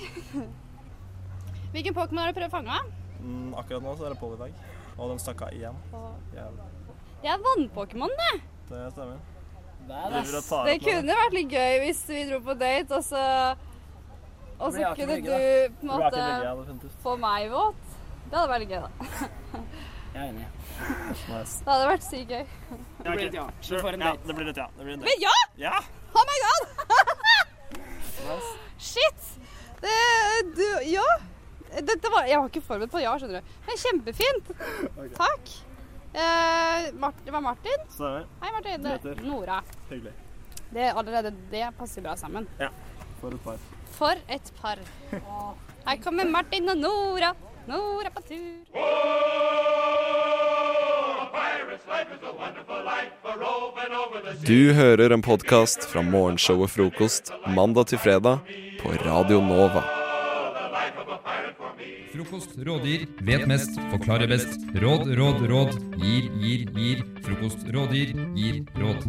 S17: Hvilken Pokémon har du prøvd å fange? da?
S20: Mm, akkurat nå så er det påvidag. Og de stakk av igjen. Jævlig.
S17: Det er vannpokémon, det.
S20: Det stemmer.
S17: Det
S20: Driver og tar opp med
S17: kunne vært litt gøy hvis vi dro på date, og så Og så
S20: Det blir
S17: kunne
S20: Aker
S17: du
S20: Brygge, da.
S17: på en
S20: Det blir Aker Brygge, ja, det er
S17: måte
S20: fint.
S17: få meg våt. Det hadde vært litt gøy, da.
S21: Jeg er enig.
S17: Det hadde vært sykt gøy.
S21: Det blir et ja. Så du får en
S20: Ja,
S21: date.
S20: det blir et ja. Det blir et
S17: Men ja!
S20: Ja!
S17: Oh my god! Shit! Det, du, ja. Dette var Jeg var ikke forberedt på ja, skjønner du. Men kjempefint. Takk. Eh, Mart, det var Martin.
S20: Stemmer.
S17: Hei, Martin. Det
S20: Peter.
S17: er Nora.
S20: Hyggelig.
S17: Det, er allerede det passer bra sammen.
S20: Ja. For et par.
S17: For et par. Her kommer Martin og Nora. Nora på tur.
S12: Du hører en podkast fra morgenshow og frokost mandag til fredag på Radio Nova.
S24: Frokost rådgir, vet mest, forklarer best. Råd, råd, råd. Gir, gir, gir. Frokost rådgir, gir råd.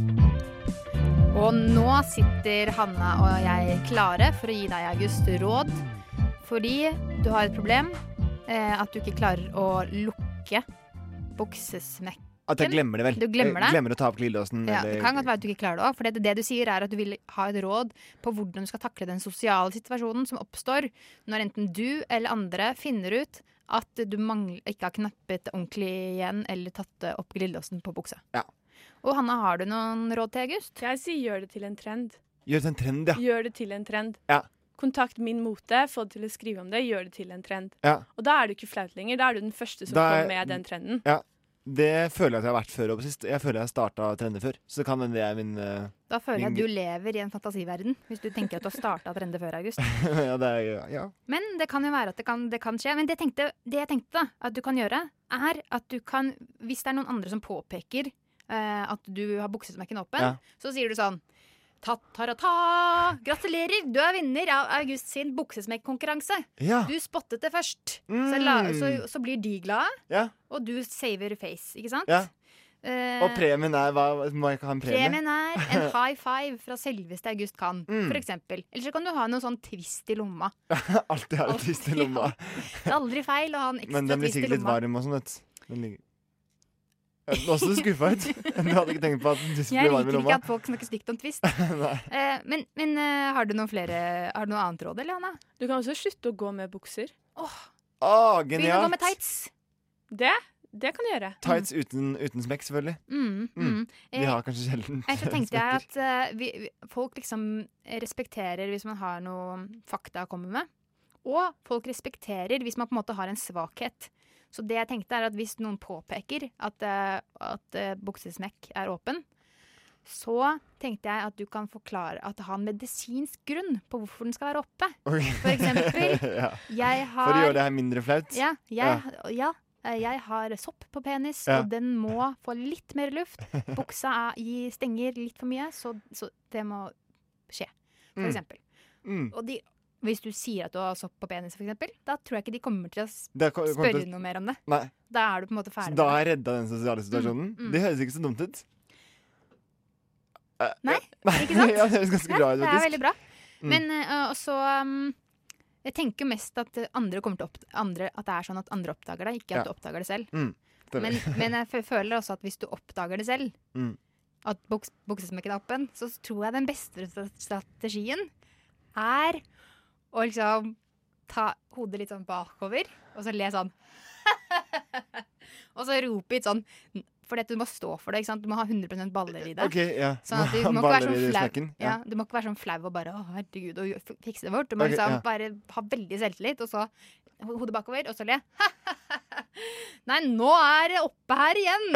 S25: Og nå sitter Hanna og jeg klare for å gi deg, August, råd. Fordi du har et problem. Eh, at du ikke klarer å lukke buksesmekken.
S26: At jeg glemmer det, vel.
S25: Du glemmer det.
S26: Jeg glemmer å ta opp glidelåsen.
S25: Ja,
S26: Mm, eller-
S25: det kan godt være at du ikke klarer det òg. For det, det du sier, er at du vil ha et råd på hvordan du skal takle den sosiale situasjonen som oppstår når enten du eller andre finner ut at du mangler, ikke har knappet ordentlig igjen eller tatt opp glidelåsen på buksa. Og Hanna, har du noen råd til August?
S27: Jeg sier gjør det til en trend.
S26: Gjør det til en trend, Mm, ja.
S27: Gjør det til en trend.
S26: ja.
S27: Kontakt Min Mote, få det til å skrive om det, gjør det til en trend.
S26: Ja.
S27: Og da er du ikke flaut lenger, da er du den første som
S26: Da er-
S27: kommer med den trenden.
S26: ja. Det føler jeg at jeg har vært før. og på sist. Jeg føler jeg har starta trender før. Så det kan hende det er min eh,
S25: Da føler jeg
S26: min
S25: at du lever i en fantasiverden, hvis du tenker at du har starta trender før august.
S26: ja, det er, ja.
S25: Men det kan jo være at det kan, det kan skje. Men det, tenkte, det jeg tenkte da, at du kan gjøre, er at du kan Hvis det er noen andre som påpeker eh, at du har buksesmekken åpen,
S26: Ja.
S25: så sier du sånn Ta-ta-ra-ta! Gratulerer! Du er vinner av August sin buksesmekkkonkurranse.
S26: Ja. Mm.
S25: Du spottet det først. Så, la, så, så blir de glade,
S26: Ja.
S25: og du saver face, ikke sant?
S26: Ja.
S25: Eh,
S26: Og premien er hva, Må jeg ikke ha en premie?
S25: Premien er en high five fra selveste August Kahn,
S26: Mm.
S25: for eksempel. Eller så kan du ha noe sånn twist i lomma.
S26: Alltid har en twist i lomma.
S25: Det er aldri feil å ha en ekstra
S26: Men den blir
S25: twist i
S26: sikkert litt
S25: lomma.
S26: varm og sånn, vet du. Den ligger Ja, Nå så du skuffa ut. Du hadde ikke tenkt på at den
S25: Jeg
S26: blir varm i
S25: liker ikke
S26: lomma.
S25: at folk snakker stygt om twist.
S26: Nei.
S25: Eh, men men eh, har du noen flere Har du noe annet råd, eller, Hanna?
S27: Du kan også slutte å gå med bukser.
S26: Å,
S25: Begynn å gå med
S26: genialt!
S25: tights.
S27: Det, det kan du gjøre.
S26: Tights uten, uten smekk, selvfølgelig.
S25: Mm, mm.
S26: Vi har kanskje sjelden
S25: Eh, Så tenkte jeg
S26: smekker.
S25: at eh, vi, vi, folk liksom respekterer hvis man har noe fakta å komme med. Og folk respekterer hvis man på en måte har en svakhet. Så det jeg tenkte er at hvis noen påpeker at, eh, at eh, buksesmekk er åpen, så tenkte jeg at du kan forklare at det har en medisinsk grunn på hvorfor den skal være oppe.
S26: Ok.
S25: For eksempel,
S26: Ja.
S25: jeg har
S26: For å gjøre det her mindre flaut?
S25: ja, jeg, ja. eh, jeg har sopp på penis,
S26: Ja.
S25: og den må få litt mer luft. Buksa er, gi- stenger litt for mye, så, så det må skje, for Mm. eksempel.
S26: Mm.
S25: Og de, hvis du sier at du har sopp på penis, for eksempel, da tror jeg ikke de kommer til å s-
S26: Det kom- kommer
S25: spørre
S26: til-
S25: noe mer om det.
S26: Nei.
S25: Da er du på en måte
S26: Så
S25: ferdig
S26: da
S25: med
S26: har
S25: det.
S26: jeg redda den sosiale situasjonen?
S25: Mm, mm.
S26: Det høres ikke så dumt ut. Eh,
S25: Nei, ikke sant?
S26: ja, det høres ganske
S25: Nei,
S26: bra ut,
S25: Det er
S26: faktisk.
S25: veldig bra.
S26: Mm.
S25: Men eh, også um, Jeg tenker mest at eh, andre kommer til å opp, andre, At det er sånn at andre oppdager det, ikke at
S26: Ja.
S25: du oppdager det selv.
S26: Mm, stemmer.
S25: Men, men jeg fø- føler også at hvis du oppdager det selv,
S26: Mm.
S25: at buks, buksesmekken er åpen, så tror jeg den beste stra- strategien er å liksom ta hodet litt sånn bakover, og så le sånn. og så rope litt sånn. For du må stå for det. ikke sant? Du må ha 100 baller i det.
S26: Ok, ja.
S25: Sånn at du må ikke være
S26: Baller i
S15: det
S25: sånn flau.
S26: smekken,
S25: Ja.
S26: ja.
S25: du må ikke være sånn flau og bare 'Å, herregud, og gjø- fikse det bort'. Du må
S26: Ok,
S25: liksom
S26: ja.
S25: bare ha veldig selvtillit, og så ho- hodet bakover, og så le. Nei, nå er det oppe her igjen!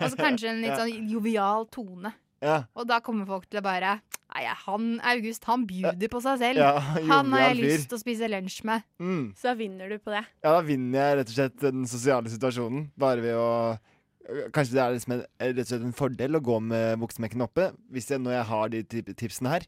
S25: Og så kanskje en litt
S26: Ja.
S25: sånn jovial tone.
S26: Ja.
S25: Og da kommer folk til å bare Nei, han August, han bjuder på seg selv.
S26: Ja,
S25: han har jeg
S26: jovial fyr.
S25: lyst til å spise lunsj med.
S26: Mm.
S25: Så da vinner du på det.
S26: Ja, da vinner jeg rett og slett den sosiale situasjonen. Bare ved å Kanskje det er liksom en, rett og slett en fordel å gå med buksemekken oppe, hvis jeg, når jeg har de tip tipsene her.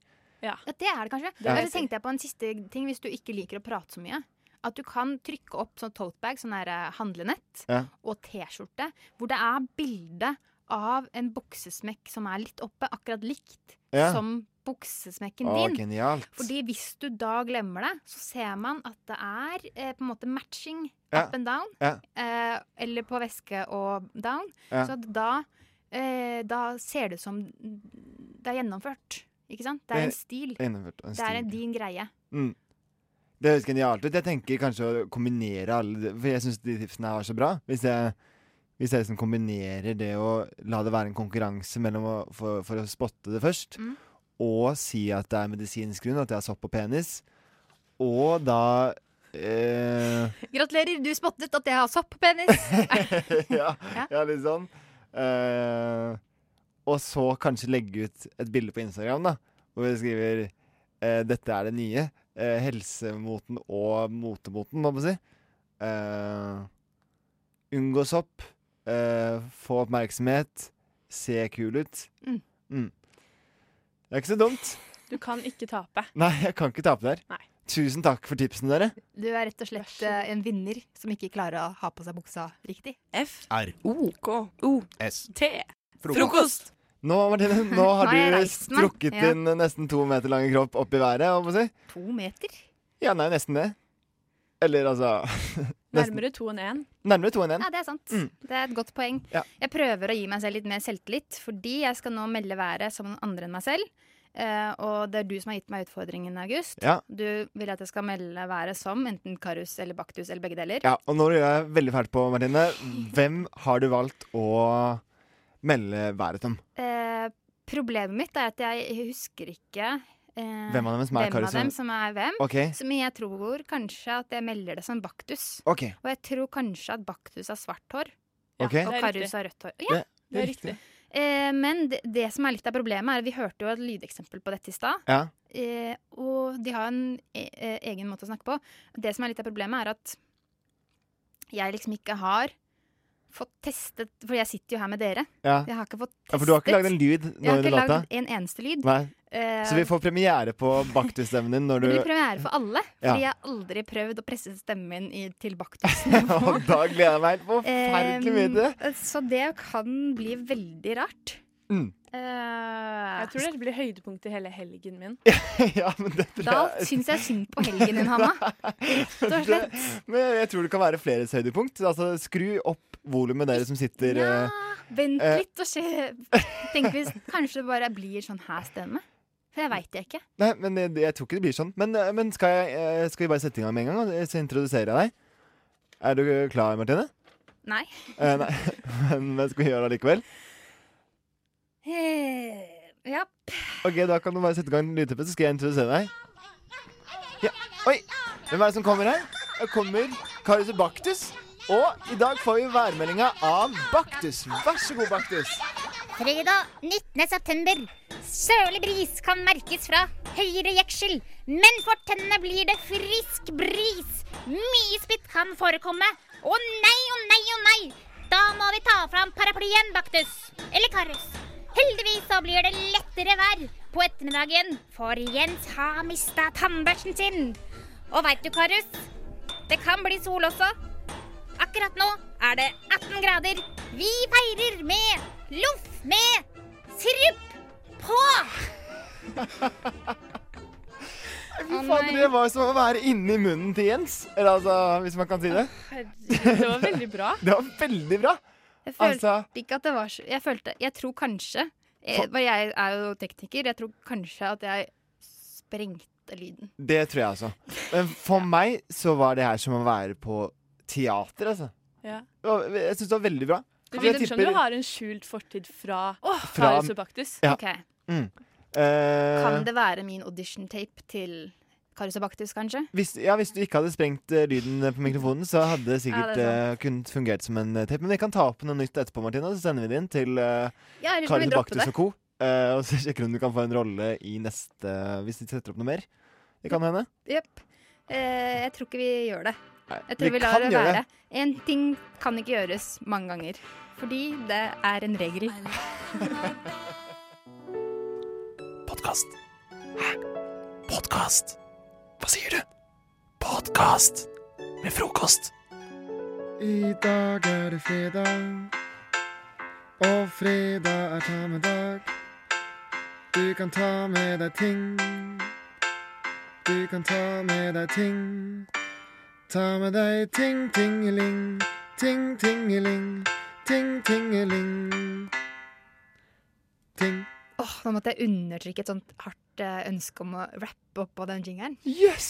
S25: Ja. det er det kanskje.
S26: Det er
S25: Men
S26: det.
S25: så tenkte jeg på en siste ting hvis du ikke liker å prate så mye. At du kan trykke opp sånn totebag, sånn her eh, handlenett,
S26: Ja.
S25: og T-skjorte, hvor det er bilde av en buksesmekk som er litt oppe, akkurat likt
S26: Ja.
S25: som buksesmekken
S26: Å,
S25: din.
S26: genialt.
S25: Fordi hvis du da glemmer det, så ser man at det er eh, på en måte matching
S26: Ja.
S25: up and down.
S26: Ja.
S25: Eh, eller på veske og down.
S26: Ja.
S25: Så at da, eh, da ser det ut som det er gjennomført. Ikke sant? Det er en stil.
S26: Det er gjennomført, en
S25: det er
S26: stil,
S25: en, din greie.
S26: Mm. Det høres genialt ut. Jeg tenker kanskje å kombinere alle de- For jeg syns de tipsene her var så bra. Hvis jeg, hvis jeg liksom kombinerer det å la det være en konkurranse mellom å, for, for å spotte det først,
S25: Mm.
S26: og si at det er medisinsk grunn, at jeg har sopp på penis, og da eh,
S25: Gratulerer, du spottet at jeg har sopp på penis!
S26: ja, ja, litt sånn. Eh, og så kanskje legge ut et bilde på Instagram da, hvor vi skriver eh, 'Dette er det nye'. eh, helsemoten og motemoten, må man si. Eh, unngå sopp. eh, få oppmerksomhet. Se kul ut.
S27: Mm.
S26: Mm. Det er ikke så dumt.
S25: Du kan ikke tape.
S26: Nei, jeg kan ikke tape der.
S25: Nei.
S26: Tusen takk for tipsene, dere.
S25: Du er rett og slett eh, en vinner som ikke klarer å ha på seg buksa riktig. F.
S26: R-O-K-O-S.
S25: T.
S26: Frokost. Nå, Martine, nå har
S25: Nå har jeg
S26: du
S25: reist meg.
S26: strukket
S25: Ja.
S26: din nesten to meter lange kropp opp i været. holdt på å si.
S25: To meter?
S26: Ja, nei, nesten det. Eller altså nesten.
S25: Nærmere to enn én.
S26: Nærmere to enn én.
S25: Ja, det er sant.
S26: Mm.
S25: Det er et godt poeng. Jeg prøver å gi meg selv litt mer selvtillit, fordi jeg skal nå melde været som noen andre enn meg selv. Eh, og det er du som har gitt meg utfordringen, August.
S26: Ja.
S25: Du vil at jeg skal melde været som enten Karus eller Baktus eller begge deler.
S26: Ja, og nå gjør jeg veldig fælt på, Martine. Hvem har du valgt å melde været om?
S25: Eh, problemet mitt er at jeg husker ikke eh,
S26: Hvem av dem som er
S25: Hvem av
S26: Karus
S25: dem
S26: og-
S25: som er hvem.
S26: Ok.
S25: Så, men jeg tror kanskje at jeg melder det som Baktus.
S26: Ok.
S25: Og jeg tror kanskje at Baktus har svart hår.
S26: Ja, Ok.
S25: Og
S26: det er riktig.
S25: Karus har rødt hår. Ja,
S26: Det- det er riktig.
S25: Eh, men det, det som er litt av problemet, er at vi hørte jo et lydeksempel på dette i stad.
S26: Ja.
S25: Eh, og de har en e eh, egen måte å snakke på. Det som er litt av problemet, er at jeg liksom ikke har fått testet For jeg sitter jo her med dere.
S26: Ja.
S25: Jeg har ikke fått testet.
S26: Ja, for du har ikke lagd en lyd
S25: Jeg
S26: nå
S15: har
S26: under
S25: ikke
S26: låta?
S25: lagd en eneste lyd.
S26: Nei.
S25: Eh,
S26: Så vi får premiere på Baktus-stemmen din når
S25: det
S26: du
S25: blir premiere for alle,
S26: Ja.
S25: fordi jeg har aldri prøvd å presse stemmen min i, til Baktus.
S26: Og da gleder jeg meg helt forferdelig mye til det.
S25: Eh, så det kan bli veldig rart.
S26: Mm.
S25: jeg
S27: tror det blir høydepunktet i hele helgen min.
S25: Da syns jeg synd på helgen din, Hanna. Rett og slett.
S26: Men jeg tror det kan være flere høydepunkt. Altså, skru opp volumet, dere som sitter eh,
S25: Vent
S26: Eh.
S25: litt og se. Tenk hvis kanskje det bare blir sånn her stemme. For jeg veit jeg ikke.
S26: Nei, men jeg, jeg tror ikke det blir sånn. Men, eh, men skal, jeg, eh, skal vi bare sette i gang med en gang, da? så introduserer jeg deg? Er du klar, Martine?
S25: Nei.
S26: Eh, nei, men, men skal vi gjøre det likevel?
S25: Eh, Ja.
S26: Ok, da kan du bare sette i gang lydteppet, så skal jeg introdusere deg. Ja. Oi! Hvem er det som kommer her? Det kommer Karius og Baktus. Og i dag får vi værmeldinga av Baktus. Vær så god, Baktus.
S3: Fredag 19. september. Sørlig bris kan merkes fra høyre jeksel, men for tennene blir det frisk bris. Mye spytt kan forekomme. Å nei, å nei, å nei! Da må vi ta fram paraplyen, Baktus. Eller Karus. Heldigvis så blir det lettere vær på ettermiddagen, for Jens har mista tannbørsten sin. Og veit du, Karus, det kan bli sol også. Akkurat nå er det 18 grader. Vi feirer med loff med sirup på!
S26: Fy faen, det var som å være inni munnen til Jens. Eller altså, hvis man kan si det.
S27: Herregud, det var veldig bra.
S26: Det var veldig bra.
S25: Jeg følte
S26: Altså-
S25: ikke at det var så Jeg følte Jeg tror kanskje jeg, bare jeg er jo tekniker. Jeg tror kanskje at jeg sprengte lyden.
S26: Det tror jeg også. Men for meg så var det her som å være på teater, altså.
S27: Ja.
S26: Det var- Jeg syns det var veldig bra.
S27: Du
S26: Jeg
S27: virker som du
S26: tipper-
S27: har en skjult fortid fra
S26: Fra-
S27: Karius og Baktus.
S26: Ja.
S25: Ok.
S26: Mm. Eh,
S25: Kan det være min audition-tape til Karius og Baktus, kanskje?
S26: Hvis, ja, hvis du ikke hadde sprengt eh, lyden eh, på mikrofonen, så hadde det
S25: Ja,
S26: sikkert
S25: det er
S26: eh, kunnet fungert som en eh, tape. Men vi kan ta opp noe nytt etterpå, Martina, så sender vi det inn til uh,
S25: Ja, eller så kan vi
S26: Karin
S25: droppe
S26: Baktus
S25: det.
S26: og co. eh, og så sjekker om du kan få en rolle i neste Hvis de setter opp noe mer. Det kan hende.
S25: Jepp. Eh, jeg tror ikke vi gjør det. Jeg tror
S26: vi
S25: vi, lar
S26: kan
S25: det
S26: gjøre
S25: være.
S26: det.
S25: En ting kan ikke gjøres mange ganger. Fordi det er en regel.
S12: Podkast. Hæ? Podkast? Hva sier du? Podkast med frokost.
S4: I dag er det fredag, og fredag er ta med dag. Du kan ta med deg ting. Du kan ta med deg ting. Ta med deg ting, tingeling, ting, tingeling, ting, tingeling. Ting.
S25: Åh, Nå måtte jeg undertrykke et sånt hardt eh, ønske om å rappe opp på den jingeren.
S26: Yes!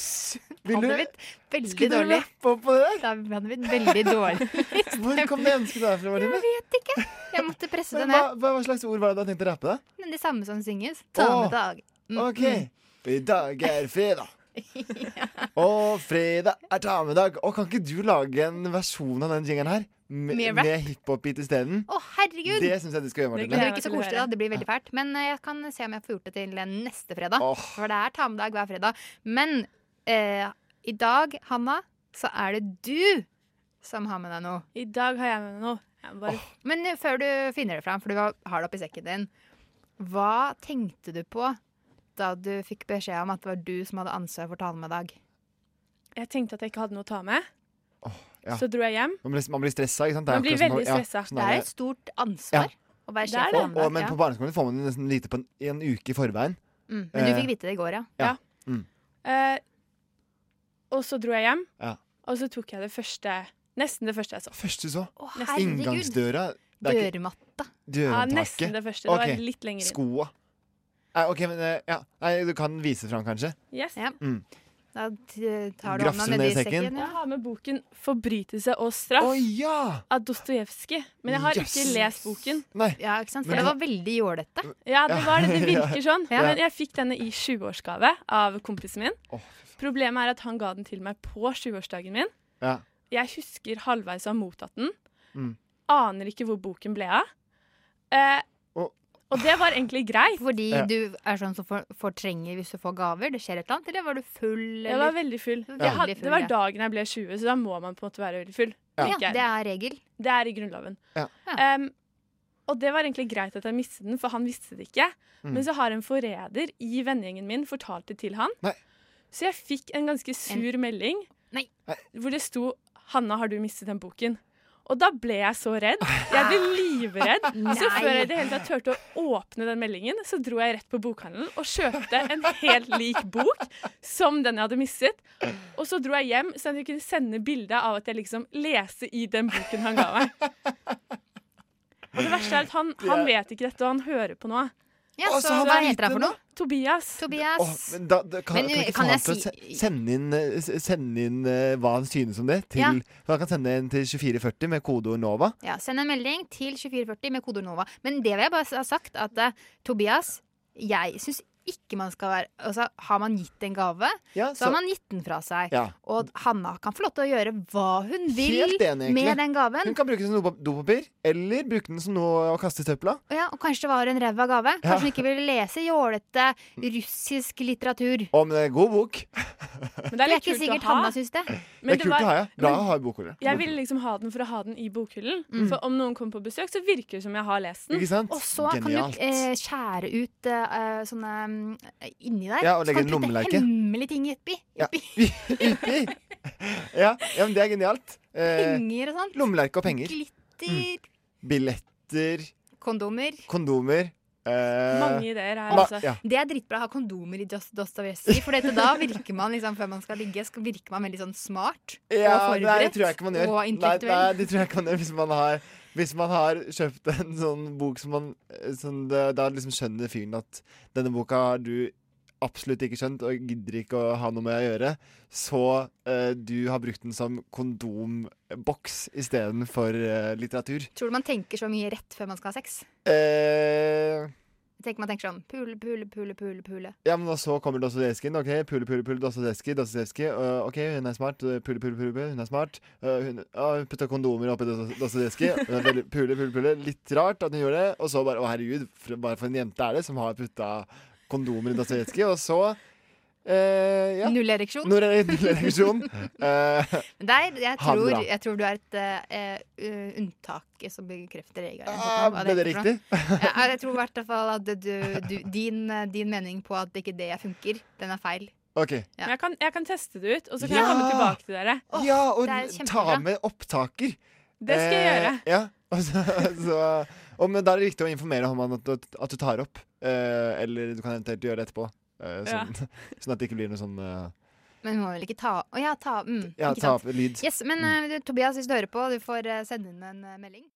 S26: Vil
S25: Hadde
S26: du-
S25: blitt veldig
S26: Skulle du
S25: dårlig.
S26: rappe opp på det der?
S25: Det hadde blitt veldig dårlig.
S26: Hvor kom det ønsket der fra, Martine?
S25: Jeg måtte presse det
S26: Men
S25: ned.
S26: Hva, hva hva slags ord var det du hadde tenkt å rappe? da?
S25: Men det samme som synges. Ta
S26: Åh,
S25: med dag. Mm,
S26: OK.
S25: mm.
S26: I dag er fredag. Og fredag er tamedag. Og kan ikke du lage en versjon av den jingeren her? Med,
S25: Med
S26: med,
S25: rap?
S26: hiphop-beat isteden?
S25: Å, herregud!
S26: Det syns jeg du skal gjøre,
S25: Det
S26: Martine.
S25: blir ikke så koselig, da. Det blir veldig fælt. Men eh, jeg kan se om jeg får gjort det til eh, neste fredag.
S26: Åh.
S25: For det er ta med deg hver fredag. Men eh, i dag, Hanna, så er det du som har med deg noe.
S27: I dag har jeg med meg noe. Jeg må bare
S25: Men eh, før du finner det fram, for du har har det oppi sekken din, hva tenkte du på da du fikk beskjed om at det var du som hadde ansvar for talen med dag?
S27: Jeg tenkte at jeg ikke hadde noe å ta med,
S26: Ja.
S27: så dro jeg hjem.
S26: Man blir, man blir stressa, ikke sant?
S27: Man blir veldig stressa.
S25: stort
S26: sånn Ja.
S25: å være
S27: sjef
S26: Og,
S27: for
S26: og,
S25: andre,
S26: men
S25: ja.
S26: på barneskolen får man det nesten lite på en, i en uke i forveien.
S25: Mm, men du
S26: Eh,
S25: fikk vite det i går, ja.
S26: Ja. Mm.
S27: Eh, og så dro jeg hjem,
S26: ja.
S27: og så tok jeg det første Nesten det første jeg så.
S26: Første du så?
S27: Nesten.
S26: Inngangsdøra? det er ikke-
S25: Dørmatta.
S26: Dørhåndtaket?
S27: Ja, nesten det første. Det var
S26: Ok.
S27: litt lenger inn.
S26: Skoa. Nei, OK, men eh, ja. Nei, du kan vise fram, kanskje?
S27: Yes.
S26: Mm.
S25: Da t- tar du
S26: Grafser
S25: hånda nedi
S26: du ned i sekken?
S25: sekken.
S27: Jeg har med boken 'Forbrytelse og straff' av Dostojevskij. Men jeg har ikke
S25: Yes.
S27: lest boken.
S25: Ja, ikke sant? For
S27: Men
S25: det
S27: du-
S25: var veldig jålete.
S27: Ja, det var det. Det
S25: Ja.
S27: virker sånn.
S25: Ja.
S27: Men jeg fikk denne i 20-årsgave av kompisen min. Problemet er at han ga den til meg på 20-årsdagen min.
S26: Ja.
S27: Jeg husker halvveis å ha mottatt den.
S26: Mm.
S27: Aner ikke hvor boken ble av. Eh, og det var egentlig greit.
S25: Fordi
S27: Ja.
S25: du er sånn som for, fortrenger hvis du får gaver. Det skjer et eller annet. Eller var du full?
S27: Jeg
S25: eller?
S27: var veldig full.
S25: Ja.
S27: Jeg hadde,
S25: Veldig full,
S27: det var
S25: ja.
S27: dagen jeg ble 20, så da må man på en måte være veldig full.
S25: Ja.
S27: tenker
S25: Ja,
S27: jeg.
S25: det er regel.
S27: Det er i Grunnloven.
S26: Ja.
S27: Em, og det var egentlig greit at jeg mistet den, for han visste det ikke.
S26: Mm.
S27: Men så har en forræder i vennegjengen min fortalt det til han. Så jeg fikk en ganske sur melding hvor det sto 'Hanna, har du mistet den boken?' Og da ble jeg så redd. Jeg ble livredd. Så
S25: Nei.
S27: før jeg i det hele tatt turte å åpne den meldingen, så dro jeg rett på bokhandelen og kjøpte en helt lik bok som den jeg hadde mistet. Og så dro jeg hjem, så jeg kunne sende bilde av at jeg liksom leste i den boken han ga meg. Og det verste er at han, han vet ikke dette, og han hører på noe.
S25: Ja, Å, så så han hva vet heter han for det. noe?
S27: Tobias.
S25: Tobias.
S26: Åh, men da, da, kan,
S25: Men,
S26: kan, ikke
S25: kan
S26: få
S25: jeg
S26: han til å
S25: si-
S26: se- sende inn, eh, s- sende inn eh, hva han synes om det? Til,
S25: Ja.
S26: for Han kan sende en til 2440 med kodeord NOVA.
S25: Ja, send en melding til 2440 med kodeord NOVA. Men det vil jeg bare ha sagt, at eh, Tobias, jeg syns ikke man skal være altså, Har man gitt en gave, så,
S26: så-
S25: har man gitt den fra seg.
S26: Ja.
S25: Og Hanna kan få lov til å gjøre hva hun vil
S26: Helt enig, egentlig.
S25: med den gaven.
S26: Hun kan bruke den som dopap- dopapir, eller bruke den som noe å kaste i søpla.
S25: Og, ja, og kanskje det var en ræva gave. Kanskje
S26: Ja.
S25: hun ikke ville lese jålete russisk litteratur.
S26: Å, men det er en god bok.
S25: Men
S27: det er litt
S25: ikke
S27: kult å
S25: sikkert
S27: ha.
S25: Hanna syns det.
S26: det er kult å ha, ja. Bra å ha i bokhylla.
S27: Jeg ville liksom ha den for å ha den i bokhyllen.
S25: Mm.
S27: For om noen kommer på besøk, så virker det som jeg har lest den.
S26: Ikke sant?
S25: Og så kan
S26: Genialt.
S25: du eh, skjære ut eh, eh, sånne mm, inni der.
S26: Ja, og
S25: så
S26: legge
S25: kan
S26: en
S25: du putte
S26: lommeleke.
S25: Hemmelige ting i oppi.
S26: Ja. Yppi! Ja, ja, men det er genialt. Eh,
S25: Penger og sånt.
S26: Lommelerke og penger. Mm.
S25: Glitter.
S26: Billetter,
S25: Kondomer.
S26: kondomer eh,
S25: Mange ideer her,
S26: ma-
S25: altså.
S26: Ja.
S25: Det er dritbra å ha kondomer i Dost- Dostojevskij, for dette, da virker man liksom, før man skal ligge, skal virker man veldig sånn smart
S26: Ja,
S25: og forberedt
S26: nei, det tror jeg ikke man gjør.
S25: og
S26: nei,
S25: intellektuell.
S26: nei, det tror jeg ikke man gjør hvis man har, hvis man har kjøpt en sånn bok som man eh, sånn, det, Da liksom skjønner fyren at denne boka har du absolutt ikke skjønt og gidder ikke å ha noe med å gjøre, så eh, du har brukt den som kondomboks istedenfor uh, litteratur.
S25: Tror du man tenker så mye rett før man skal ha sex?
S26: Eh,
S25: Jeg tenker man tenker sånn pule, pule, pule, pule, pule.
S26: Ja, men og så kommer Dostojevskij. inn, Ok, pule, pule, pule, Dostojevskij, Dostojevskij. øh, ok, hun er smart. øh, Pule, pule, pule, pule, hun er smart. Øh, hun, ja, hun putta kondomer oppi Dosto- Dostojevskij. Hun er veldig- Pule, pule, pule. Litt rart at hun gjorde det. Og så bare Å, herregud, for, bare for en jente er det som har putta kondomer i Dostojevskij. Og så eh, ja.
S25: Null ereksjon.
S26: Null ere- null ereksjon. Eh,
S25: Men der, jeg
S26: Ha det
S25: tror,
S26: bra.
S25: jeg tror du er et eh, eh, unntak som bekrefter regelen. Sånn,
S26: Ah,
S25: Hva
S26: ble det
S25: heter for noe? ja, jeg tror i hvert fall at du, du, din, eh, din mening på at det ikke det funker, den er feil.
S26: ok.
S25: Ja.
S27: Men jeg kan, jeg kan teste det ut, og så kan
S26: Ja!
S27: jeg komme tilbake til dere.
S26: Ja, og
S25: det er
S26: ta
S25: kjempebra.
S26: med opptaker.
S27: Det skal jeg gjøre.
S26: Eh, ja, og så, så, og, men da er det viktig å informere om at, du- at du tar opp. eh, eller du kan eventuelt gjøre det etterpå. eh,
S25: Ja.
S26: sånn, sånn at det ikke blir noe sånn eh,
S25: Men hun må vel ikke ta Å ja, ta, mm,
S26: Ja,
S25: ikke
S26: ta
S25: sant?
S26: opp lyd.
S25: Yes, men
S26: Mm.
S25: eh, Tobias, hvis du hører på, du får eh, sende inn en eh, melding.